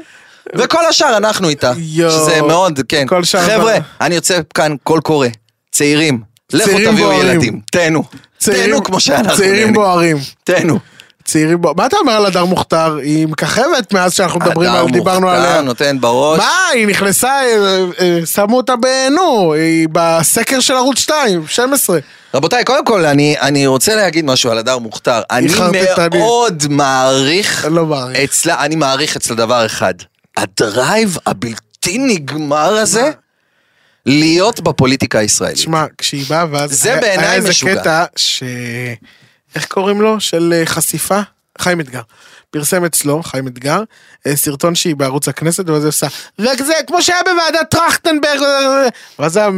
Speaker 3: וכל השאר אנחנו איתה.
Speaker 2: יואו.
Speaker 3: שזה מאוד, כן.
Speaker 2: כל שאר
Speaker 3: חבר'ה,
Speaker 2: אנחנו.
Speaker 3: אני יוצא כאן קול קורא. צעירים. לכו
Speaker 2: צעירים
Speaker 3: תביאו
Speaker 2: בוערים.
Speaker 3: ילדים. תהנו. תהנו כמו שאנחנו
Speaker 2: צעירים
Speaker 3: נהנים.
Speaker 2: בוערים.
Speaker 3: תהנו.
Speaker 2: צעירים בוערים. מה אתה אומר על הדר מוכתר? היא מככבת מאז שאנחנו מדברים על,
Speaker 3: אדם
Speaker 2: דיברנו
Speaker 3: מוכתר,
Speaker 2: עליה.
Speaker 3: נותן בראש.
Speaker 2: מה, היא נכנסה, אה, אה, שמו אותה ב- נו, היא בסקר של ערוץ 2, 12.
Speaker 3: רבותיי, קודם כל, אני, אני רוצה להגיד משהו על הדר מוכתר. אני
Speaker 2: חרטטנית.
Speaker 3: מאוד מעריך
Speaker 2: לא מעריך.
Speaker 3: אצלה, אני מעריך אצלה דבר אחד. הדרייב הבלתי נגמר הזה, להיות בפוליטיקה הישראלית.
Speaker 2: תשמע, כשהיא באה ואז...
Speaker 3: זה
Speaker 2: היה-
Speaker 3: בעיניי משוגע.
Speaker 2: היה איזה קטע ש... איך קוראים לו? של אה, חשיפה? חיים אתגר. פרסם אצלו, חיים אתגר, אה, סרטון שהיא בערוץ הכנסת, ואז היא עושה, רק זה, כמו שהיה בוועדת טרכטנברג, אה, ואז
Speaker 3: אה,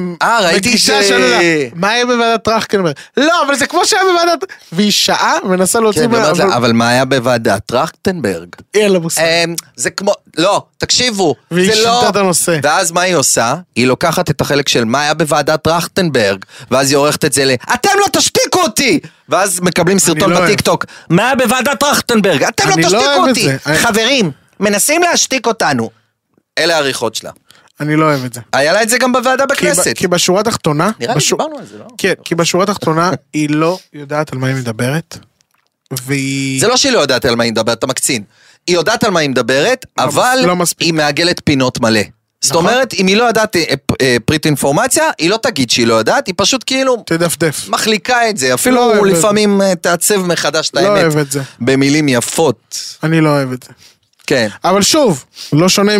Speaker 3: ראיתי
Speaker 2: המגישה
Speaker 3: ש-
Speaker 2: שלנו לה, מה היה בוועדת טרכטנברג? לא, אבל זה כמו שהיה בוועדת... והיא שעה מנסה להוציא...
Speaker 3: כן,
Speaker 2: מה-
Speaker 3: ואומרת לה,
Speaker 2: אבל-
Speaker 3: אבל מה היה בוועדת טרכטנברג?
Speaker 2: אין לה מושג.
Speaker 3: אמ, זה כמו, לא, תקשיבו,
Speaker 2: והיא
Speaker 3: זה לא...
Speaker 2: שינתה את הנושא.
Speaker 3: ואז מה היא עושה? היא לוקחת את החלק של מה היה בוועדת טרכטנברג, ואז היא עורכת את זה ל... אתם לא תשתיקו אותי! ואז מקבלים סרטון
Speaker 2: לא אוהב.
Speaker 3: בטיקטוק, מה היה בוועדת טרכטנברג? אתם לא
Speaker 2: אני לא
Speaker 3: תשתיקו
Speaker 2: אוהב את
Speaker 3: אותי!
Speaker 2: זה. אני-
Speaker 3: חברים, מנסים להשתיק אותנו. אלה העריכות שלה.
Speaker 2: אני לא אוהב את זה.
Speaker 3: היה לה את זה גם בוועדה
Speaker 2: כי ב-
Speaker 3: בכנסת.
Speaker 2: כי בשורה התחתונה...
Speaker 3: נראה לי
Speaker 2: בשו-
Speaker 3: דיברנו על זה, לא?
Speaker 2: כן, כי בשורה התחתונה היא לא יודעת על מה היא מדברת, והיא...
Speaker 3: זה לא שהיא לא יודעת על מה היא מדברת, אתה מקצין. היא יודעת על מה היא מדברת, אבל
Speaker 2: לא מספיק.
Speaker 3: היא מעגלת פינות מלא. זאת
Speaker 2: נכון.
Speaker 3: אומרת, אם היא לא יודעת אה, פ- אה, פריט אינפורמציה, היא לא תגיד שהיא לא יודעת, היא פשוט כאילו
Speaker 2: תדפדף.
Speaker 3: מחליקה את זה.
Speaker 2: לא
Speaker 3: אפילו
Speaker 2: אוהב את
Speaker 3: לפעמים אה, תעצב מחדש את
Speaker 2: לא
Speaker 3: האמת.
Speaker 2: אוהב את זה.
Speaker 3: במילים יפות.
Speaker 2: אני לא אוהב את זה.
Speaker 3: כן.
Speaker 2: אבל שוב, לא שונה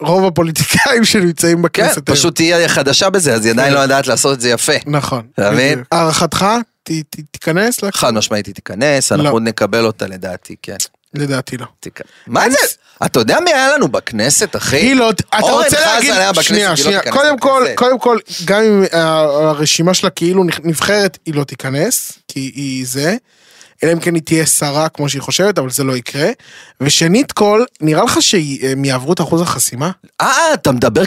Speaker 2: מרוב הפוליטיקאים <laughs> שנמצאים
Speaker 3: כן,
Speaker 2: בכנסת. היום.
Speaker 3: פשוט היא חדשה בזה, אז היא
Speaker 2: כן.
Speaker 3: עדיין לא יודעת לעשות את זה יפה.
Speaker 2: נכון.
Speaker 3: אתה מבין?
Speaker 2: בדיוק. הערכתך, ת- ת- תיכנס? לה?
Speaker 3: חד משמעית היא תיכנס,
Speaker 2: נכון. לא.
Speaker 3: אנחנו עוד נקבל אותה לדעתי, כן.
Speaker 2: לדעתי לא.
Speaker 3: תיכנס. מה זה? אתה יודע מי היה לנו בכנסת, אחי?
Speaker 2: היא לא, אתה
Speaker 3: אה, אורן
Speaker 2: רוצה
Speaker 3: חזן
Speaker 2: להגיד,
Speaker 3: היה בכנסת, היא
Speaker 2: שנייה,
Speaker 3: לא
Speaker 2: שנייה,
Speaker 3: תיכנס
Speaker 2: קודם כל,
Speaker 3: לכנסת.
Speaker 2: קודם כל, גם אם ה- הרשימה שלה כאילו נכ- נבחרת, היא לא תיכנס, כי היא זה, אלא אם כן היא תהיה שרה כמו שהיא חושבת, אבל זה לא יקרה. ושנית כל, נראה לך שהם יעברו את אחוז החסימה?
Speaker 3: אה, אתה מדבר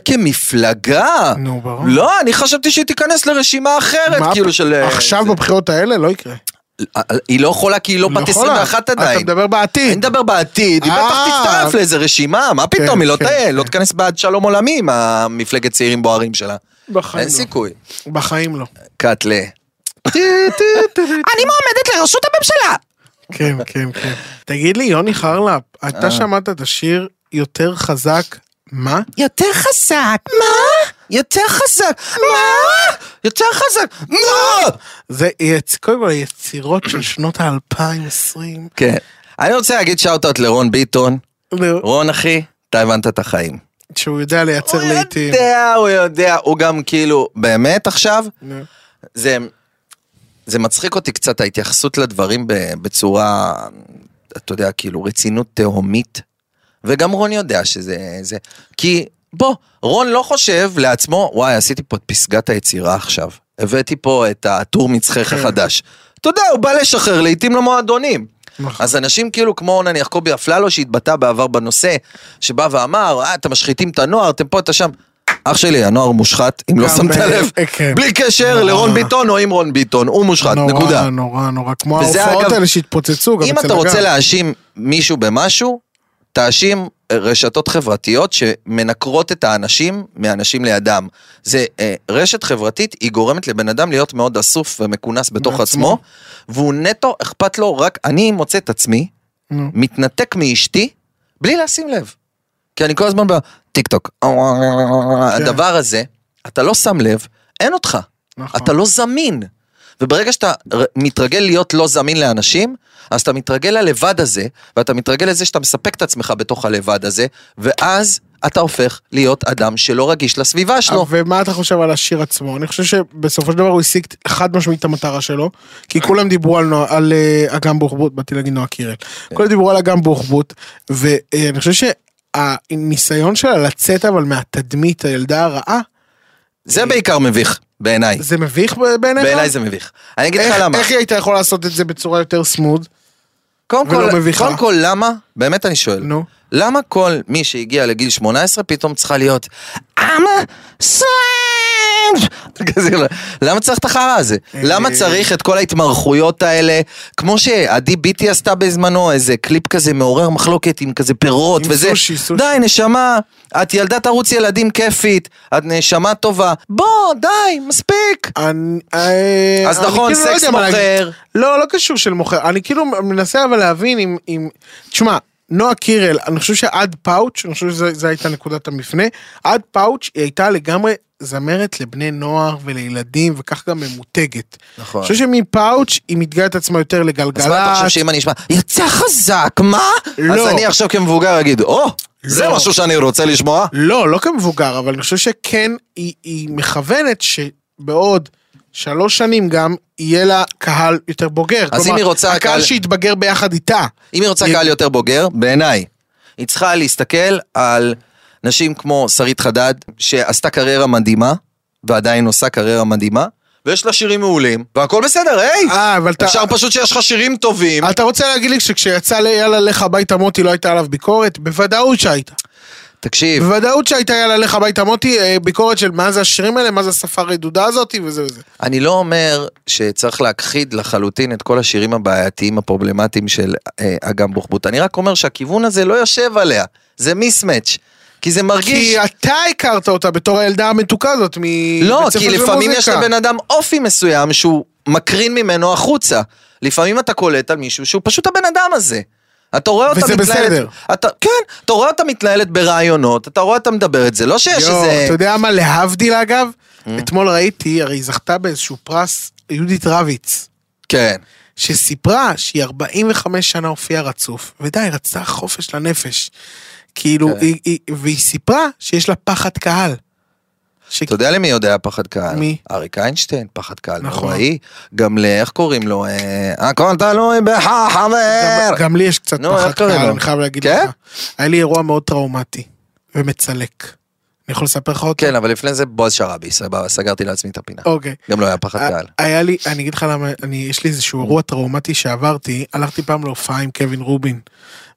Speaker 3: כמפלגה.
Speaker 2: נו, ברור.
Speaker 3: לא, אני חשבתי שהיא תיכנס לרשימה אחרת,
Speaker 2: מה
Speaker 3: כאילו
Speaker 2: הפ-
Speaker 3: של... אה,
Speaker 2: עכשיו
Speaker 3: זה-
Speaker 2: בבחירות האלה לא יקרה.
Speaker 3: היא לא יכולה כי היא לא
Speaker 2: לא
Speaker 3: בת
Speaker 2: יכולה.
Speaker 3: 21
Speaker 2: אתה
Speaker 3: עדיין.
Speaker 2: מדבר
Speaker 3: אני
Speaker 2: בעתיד.
Speaker 3: מדבר בעתיד, היא בטח
Speaker 2: אה.
Speaker 3: תצטרף לאיזה רשימה, מה פתאום,
Speaker 2: כן,
Speaker 3: היא לא
Speaker 2: כן,
Speaker 3: תהיה,
Speaker 2: כן.
Speaker 3: לא תיכנס בעד שלום עולמי עם המפלגת צעירים בוערים שלה.
Speaker 2: בחיים
Speaker 3: אין
Speaker 2: לא.
Speaker 3: סיכוי.
Speaker 2: בחיים
Speaker 3: <laughs>
Speaker 2: לא.
Speaker 3: קאטלה.
Speaker 6: אני מועמדת לראשות הממשלה.
Speaker 2: כן, כן, כן. תגיד לי, יוני חרלפ,
Speaker 3: אה.
Speaker 2: אתה שמעת את השיר יותר חזק, מה?
Speaker 6: יותר חזק.
Speaker 3: יותר חזק! מה? יותר חזק! מה?
Speaker 2: זה יצ- קודם כל היצירות
Speaker 3: <clears throat>
Speaker 2: של שנות ה-2020.
Speaker 3: כן. אני רוצה להגיד שאוטות לרון ביטון. רון אחי, אתה הבנת את החיים.
Speaker 2: שהוא יודע לייצר
Speaker 3: הוא
Speaker 2: לעיתים.
Speaker 3: יודע, הוא יודע, הוא גם כאילו, באמת עכשיו,
Speaker 2: נו.
Speaker 3: זה, זה מצחיק אותי קצת ההתייחסות לדברים ב- בצורה, אתה יודע, כאילו רצינות תהומית. וגם רון יודע שזה... זה, כי בוא, רון לא חושב לעצמו, וואי, עשיתי פה את פסגת היצירה עכשיו.
Speaker 2: כן.
Speaker 3: הבאתי פה את הטור מצחך החדש. אתה יודע, הוא בא לשחרר לעיתים למועדונים. לא
Speaker 2: נכון.
Speaker 3: אז אנשים כאילו כמו נניח קובי אפללו שהתבטא בעבר בנושא, שבא ואמר, אה, אתם משחיתים את הנוער, אתם פה, אתה שם. אח שלי, הנוער מושחת, אם לא
Speaker 2: גם,
Speaker 3: שמת
Speaker 2: אה,
Speaker 3: לב,
Speaker 2: אה, כן.
Speaker 3: בלי קשר
Speaker 2: נורא.
Speaker 3: לרון ביטון או עם רון ביטון, הוא מושחת, נקודה.
Speaker 2: נורא, נורא, נורא. כמו
Speaker 3: וזה,
Speaker 2: ההופעות
Speaker 3: אגב,
Speaker 2: האלה שהתפוצצו, גם
Speaker 3: אם
Speaker 2: אצל
Speaker 3: אתה רוצה
Speaker 2: הגל.
Speaker 3: להאשים מישהו במשהו, תאשים אה, רשתות חברתיות שמנקרות את האנשים מאנשים לידם. זה אה, רשת חברתית, היא גורמת לבן אדם להיות מאוד אסוף ומכונס בתוך
Speaker 2: בעצמו.
Speaker 3: עצמו, עצמו והוא נטו אכפת לו רק, אני מוצא את עצמי,
Speaker 2: נו.
Speaker 3: מתנתק מאשתי, בלי לשים לב. כי אני כל הזמן בטיק טוק. הדבר הזה, אתה לא שם לב, אין אותך.
Speaker 2: כן. נכון.
Speaker 3: אתה לא זמין. וברגע שאתה ר- מתרגל להיות לא זמין לאנשים, אז אתה מתרגל ללבד הזה, ואתה מתרגל לזה שאתה מספק את עצמך בתוך הלבד הזה, ואז אתה הופך להיות אדם שלא רגיש לסביבה שלו.
Speaker 2: אה, ומה אתה חושב על השיר עצמו? אני חושב שבסופו של דבר הוא השיג חד משמעית את המטרה שלו, כי כולם דיברו על, נוע- על אה, אגם בוחבוט, באתי להגיד נועה קירל.
Speaker 3: כן.
Speaker 2: כולם דיברו על אגם בוחבוט, ואני חושב שהניסיון שלה לצאת אבל מהתדמית הילדה הרעה,
Speaker 3: זה בעיקר מביך, בעיניי.
Speaker 2: זה מביך ב- בעיניך?
Speaker 3: בעיניי זה מביך. אני אגיד לך
Speaker 2: איך,
Speaker 3: למה.
Speaker 2: איך היא הייתה יכולה לעשות את זה בצורה יותר סמוד?
Speaker 3: קודם
Speaker 2: ולא
Speaker 3: כל,
Speaker 2: מביכה.
Speaker 3: קודם כל, למה, באמת אני שואל,
Speaker 2: נו.
Speaker 3: למה כל מי שהגיע לגיל 18 פתאום צריכה להיות, I'm a slave? כזה, למה צריך את החרא הזה?
Speaker 2: אה.
Speaker 3: למה צריך את כל ההתמרחויות האלה? כמו שעדי ביטי עשתה בזמנו, איזה קליפ כזה מעורר מחלוקת עם כזה פירות
Speaker 2: עם
Speaker 3: וזה.
Speaker 2: סושי, סושי.
Speaker 3: די, נשמה, את ילדת ערוץ ילדים כיפית, את נשמה טובה. בוא, די, מספיק.
Speaker 2: אני, אה,
Speaker 3: אז
Speaker 2: אני
Speaker 3: נכון,
Speaker 2: כאילו לא
Speaker 3: סקס
Speaker 2: יודע מה להגיד.
Speaker 3: מוכר.
Speaker 2: לא, לא קשור של מוכר. אני כאילו מנסה אבל להבין אם... אם... תשמע, נועה קירל, אני חושב שעד פאוץ', אני חושב שזו הייתה נקודת המפנה, עד פאוץ' היא הייתה לגמרי זמרת לבני נוער ולילדים, וכך גם ממותגת.
Speaker 3: נכון.
Speaker 2: אני חושב שמפאוץ' היא מתגאה את עצמה יותר לגלגלצ.
Speaker 3: אז מה אתה חושב שאם אני אשמע, יצא חזק, מה?
Speaker 2: לא.
Speaker 3: אז אני עכשיו כמבוגר אגיד, או, זה
Speaker 2: לא.
Speaker 3: משהו שאני רוצה לשמוע.
Speaker 2: לא, לא כמבוגר, אבל אני חושב שכן, היא, היא מכוונת שבעוד שלוש שנים גם, יהיה לה קהל יותר בוגר.
Speaker 3: אז אם היא רוצה
Speaker 2: הקהל
Speaker 3: קהל-
Speaker 2: שיתבגר ביחד איתה.
Speaker 3: אם היא רוצה
Speaker 2: היא-
Speaker 3: קהל יותר בוגר, בעיניי, היא צריכה להסתכל על נשים כמו שרית חדד, שעשתה קריירה מדהימה, ועדיין עושה קריירה מדהימה, ויש לה שירים מעולים, והכל בסדר, היי!
Speaker 2: אה, אבל אתה...
Speaker 3: אפשר פשוט שיש לך שירים טובים.
Speaker 2: אתה רוצה להגיד לי שכשיצא ליאללה לך הביתה מוטי לא הייתה עליו ביקורת? בוודאות שהייתה.
Speaker 3: תקשיב,
Speaker 2: בוודאות שהייתה יאללה לך הביתה מוטי אה, ביקורת של מה זה השירים האלה, מה זה השפה הרדודה הזאת וזה וזה.
Speaker 3: אני לא אומר שצריך להכחיד לחלוטין את כל השירים הבעייתיים הפרובלמטיים של אה, אגם בוחבוט, אני רק אומר שהכיוון הזה לא יושב עליה, זה מיסמץ', כי זה מרגיש...
Speaker 2: כי אתה הכרת אותה בתור הילדה המתוקה הזאת מבית
Speaker 3: לא,
Speaker 2: ספר
Speaker 3: כי
Speaker 2: של
Speaker 3: לפעמים יש
Speaker 2: מוזיקה.
Speaker 3: לבן אדם אופי מסוים שהוא מקרין ממנו החוצה. לפעמים אתה קולט על מישהו שהוא פשוט הבן אדם הזה. אתה רואה אותה
Speaker 2: וזה
Speaker 3: מתנהלת...
Speaker 2: בסדר.
Speaker 3: אתה, כן, אתה רואה אותה מתנהלת ברעיונות, אתה רואה אותה מדברת, זה לא <laughs> שיש
Speaker 2: יואו,
Speaker 3: איזה...
Speaker 2: אתה יודע מה, להבדיל אגב,
Speaker 3: אה?
Speaker 2: אתמול ראיתי, הרי היא זכתה באיזשהו פרס, יהודית רביץ,
Speaker 3: כן.
Speaker 2: שסיפרה שהיא 45 שנה הופיעה רצוף, ודי, היא רצתה חופש לנפש. כאילו,
Speaker 3: כן.
Speaker 2: היא- היא- והיא סיפרה שיש לה פחד קהל. ש-
Speaker 3: אתה יודע למי יודע פחד קהל?
Speaker 2: מי?
Speaker 3: אריק איינשטיין, פחד קהל
Speaker 2: נכון.
Speaker 3: נוראי. גם ל... איך קוראים לו? אה, הכל תלוי בך, חבר!
Speaker 2: גם- גם לי יש קצת
Speaker 3: נו,
Speaker 2: פחד
Speaker 3: איך קוראים
Speaker 2: קהל,
Speaker 3: לו?
Speaker 2: אני חייב להגיד
Speaker 3: כן?
Speaker 2: לך. היה לי אירוע מאוד טראומטי, ומצלק. אני יכול לספר לך אותו?
Speaker 3: כן, אבל לפני זה בועז שראבי, סבבה, סגרתי לעצמי את הפינה.
Speaker 2: אוקיי.
Speaker 3: גם לא היה פחד קהל.
Speaker 2: היה לי, אני אגיד לך למה, אני, יש לי איזשהו אירוע טראומטי שעברתי, הלכתי פעם להופעה עם קווין רובין,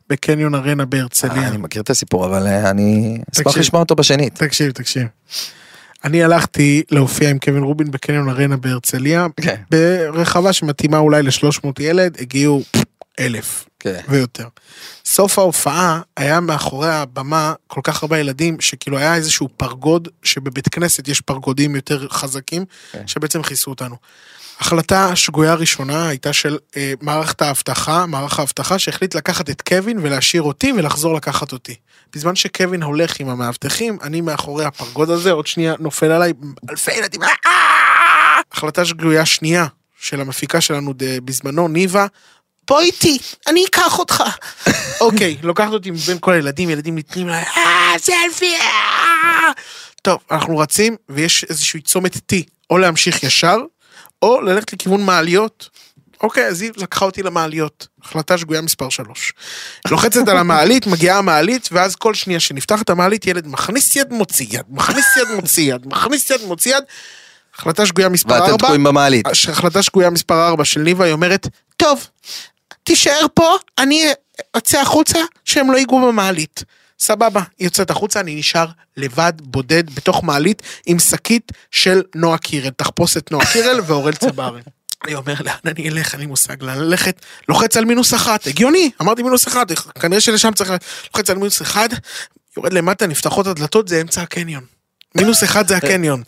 Speaker 2: בקניון ארנה
Speaker 3: אה,
Speaker 2: בהרצליה.
Speaker 3: אני מכיר את הסיפור, אבל אה, אני אשמח
Speaker 2: תקשיב.
Speaker 3: לשמוע אותו בשנית.
Speaker 2: תקשיב, תקשיב. אני הלכתי להופיע עם קווין רובין בקניון ארנה בהרצליה,
Speaker 3: כן.
Speaker 2: ברחבה שמתאימה אולי ל-300 ילד, הגיעו אלף
Speaker 3: כן.
Speaker 2: ויותר. סוף ההופעה היה מאחורי הבמה כל כך הרבה ילדים, שכאילו היה איזשהו פרגוד, שבבית כנסת יש פרגודים יותר חזקים, שבעצם כיסו אותנו. החלטה שגויה ראשונה הייתה של אה, מערכת האבטחה, מערך האבטחה שהחליט לקחת את קווין ולהשאיר אותי ולחזור לקחת אותי. בזמן שקווין הולך עם המאבטחים, אני מאחורי הפרגוד הזה, עוד שנייה נופל עליי אלפי ילדים. אה, אה. החלטה שגויה שנייה של המפיקה שלנו ד- בזמנו, ניבה, בוא איתי, אני אקח אותך. <laughs> אוקיי, לוקחת אותי מבין כל הילדים, ילדים ניתנים לה, אה, סלפי, אה. טוב, אנחנו רצים, ויש איזשהו צומת T, או להמשיך ישר, או ללכת לכיוון מעליות. אוקיי, אז היא לקחה אותי למעליות. החלטה שגויה מספר 3. לוחצת על המעלית, מגיעה המעלית, ואז כל שנייה שנפתחת המעלית, ילד מכניס יד, מוציא יד, מכניס יד, מוציא יד, מכניס יד, מוציא יד. החלטה שגויה מספר 4.
Speaker 3: ואתם תקועים במעלית.
Speaker 2: החלטה שגויה מספר 4 של ניבה, היא אומרת, טוב, תישאר פה, אני אצא החוצה, שהם לא ייגעו במעלית. סבבה, היא יוצאת החוצה, אני נשאר לבד, בודד, בתוך מעלית, עם שקית של נועה קירל, תחפושת נועה קירל <laughs> ואורל צברי. אני אומר, לאן אני אלך? אין לי מושג לאן ללכת. לוחץ על מינוס אחת, הגיוני, אמרתי מינוס אחת, כנראה שלשם צריך... ל- לוחץ על מינוס אחד, יורד למטה, נפתחות הדלתות, זה אמצע הקניון. מינוס אחד זה הקניון.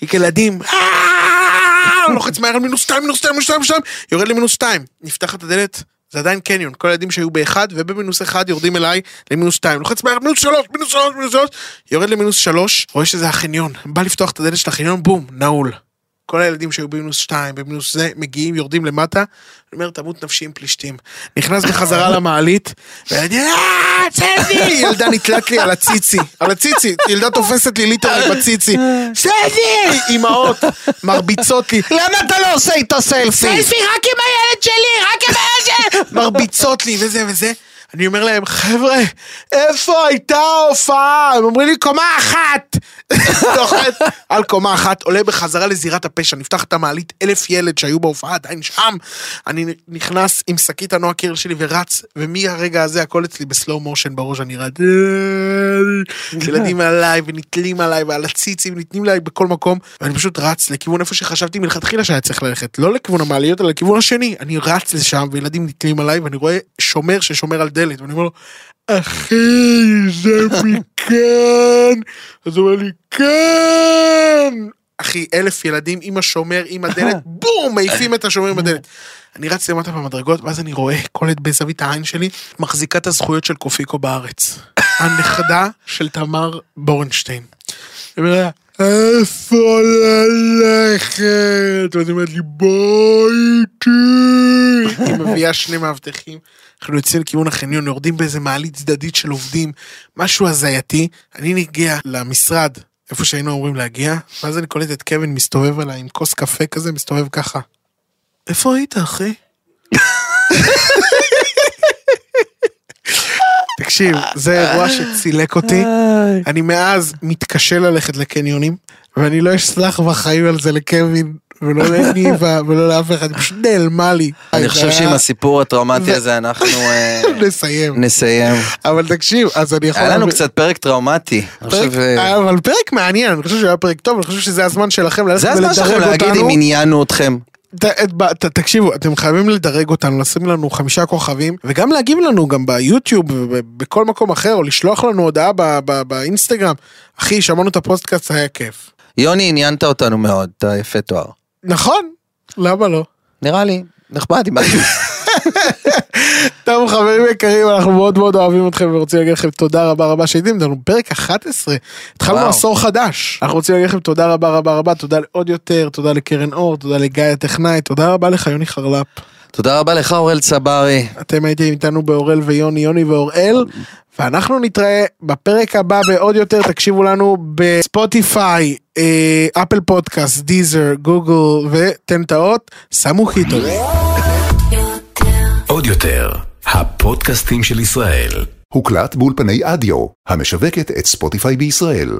Speaker 2: היא כילדים, "אה!" לוחץ מהר על מינוס שתיים, מינוס שתיים, מינוס שתיים, מינוס שתיים, יורד למינוס שתיים, נפתחת הדלת, זה עדיין קניון, כל הילדים שהיו באחד ובמינוס אחד יורדים אליי למינוס שתיים, לוחץ מהר, מינוס שלוש, מינוס שלוש, מינוס שלוש, יורד למינוס שלוש, רואה שזה החניון, בא לפתוח את הדלת של החניון, בום, נעול. כל הילדים שהיו במינוס שתיים, במינוס זה, מגיעים, יורדים למטה, אני אומר, תמות נפשי עם פלישתים. נכנס בחזרה למעלית, והילדים, אה, צא לי! ילדה נתלת לי על הציצי, על הציצי, ילדה תופסת לי ליטר בציצי, צא לי! אמהות מרביצות לי,
Speaker 4: למה אתה לא עושה איתה סלפי?
Speaker 2: סלפי רק עם הילד שלי, רק עם הילד שלי! מרביצות לי וזה וזה. אני אומר להם, חבר'ה, איפה הייתה ההופעה? הם אומרים לי, קומה אחת! <laughs> נוחת על קומה אחת, עולה בחזרה לזירת הפשע, נפתח את המעלית, אלף ילד שהיו בהופעה עדיין שם. אני נכנס עם שקית הנועה קירל שלי ורץ, ומהרגע הזה הכל אצלי בסלואו מושן בראש, אני רץ... ילדים עליי ונתלים עליי ועל הציצים ניתנים עליי בכל מקום ואני פשוט רץ לכיוון איפה שחשבתי מלכתחילה שהיה צריך ללכת לא לכיוון המעליות אלא לכיוון השני אני רץ לשם וילדים נתלים עליי ואני רואה שומר ששומר על דלת ואני אומר לו אחי זה <laughs> מכאן אז הוא אומר לי כן אחי, אלף ילדים עם השומר, עם <laughs> הדלת, בום, מעיפים את השומר עם הדלת. אני רץ למטה במדרגות, ואז אני רואה קולט בזווית העין שלי, מחזיקה את הזכויות של קופיקו <laughs> בארץ. הנכדה של תמר בורנשטיין. היא אומרת לה, איפה ללכת? ואז היא אומרת לי, בואי איתי. היא מביאה שני מאבטחים. אנחנו יוצאים לכיוון החניון, יורדים באיזה מעלית צדדית של עובדים, משהו הזייתי. אני נגיע למשרד, איפה שהיינו אמורים להגיע, ואז אני קולט את קווין מסתובב עליי עם כוס קפה כזה, מסתובב ככה. איפה היית, אחי? תקשיב, זה אירוע שצילק אותי. אני מאז מתקשה ללכת לקניונים, ואני לא אסלח בחיים על זה לקווין, ולא לניבה, ולא לאף אחד, היא פשוט נעלמה לי.
Speaker 3: אני חושב
Speaker 2: אה,
Speaker 3: שעם הסיפור הטראומטי הזה אנחנו אה,
Speaker 2: <laughs> נסיים.
Speaker 3: נסיים.
Speaker 2: אבל תקשיב, אז אני יכול...
Speaker 3: היה לנו
Speaker 2: להבין-
Speaker 3: קצת פרק טראומטי. אני
Speaker 2: נכון, פרק-
Speaker 3: חושב, אה,
Speaker 2: אבל פרק מעניין, אני חושב שהיה פרק טוב, אני חושב שזה הזמן שלכם ללכת
Speaker 3: זה הזמן שלכם
Speaker 2: ולדרג
Speaker 3: להגיד אם
Speaker 2: אותנו.
Speaker 3: עניינו אתכם.
Speaker 2: ת- את- ב- ת- תקשיבו, אתם חייבים לדרג אותנו, לשים לנו חמישה כוכבים, וגם להגיב לנו גם ביוטיוב ובכל מקום אחר, או לשלוח לנו הודעה ב- ב- באינסטגרם. אחי, שמענו את הפודקאסט, היה כיף.
Speaker 3: יוני, עניינת אותנו מאוד, אתה יפה תואר.
Speaker 2: נכון, למה לא?
Speaker 3: נראה לי, נחמד. אם-
Speaker 2: טוב חברים יקרים אנחנו מאוד מאוד אוהבים אתכם ורוצים להגיד לכם תודה רבה רבה שהייתם איתנו פרק 11 התחלנו
Speaker 3: וואו.
Speaker 2: עשור חדש אנחנו רוצים להגיד לכם תודה רבה רבה רבה תודה לעוד יותר תודה לקרן אור תודה לגיא הטכנאי תודה רבה לך יוני חרלפ
Speaker 3: תודה רבה לך אורל צברי.
Speaker 2: אתם הייתם איתנו באורל ויוני יוני ואוראל ואנחנו נתראה בפרק הבא בעוד יותר תקשיבו לנו בספוטיפיי אה, אפל פודקאסט דיזר גוגל ותן טעות סמו חיטו.
Speaker 7: עוד יותר, הפודקאסטים של ישראל.
Speaker 8: הוקלט באולפני אדיו, המשווקת את ספוטיפיי בישראל.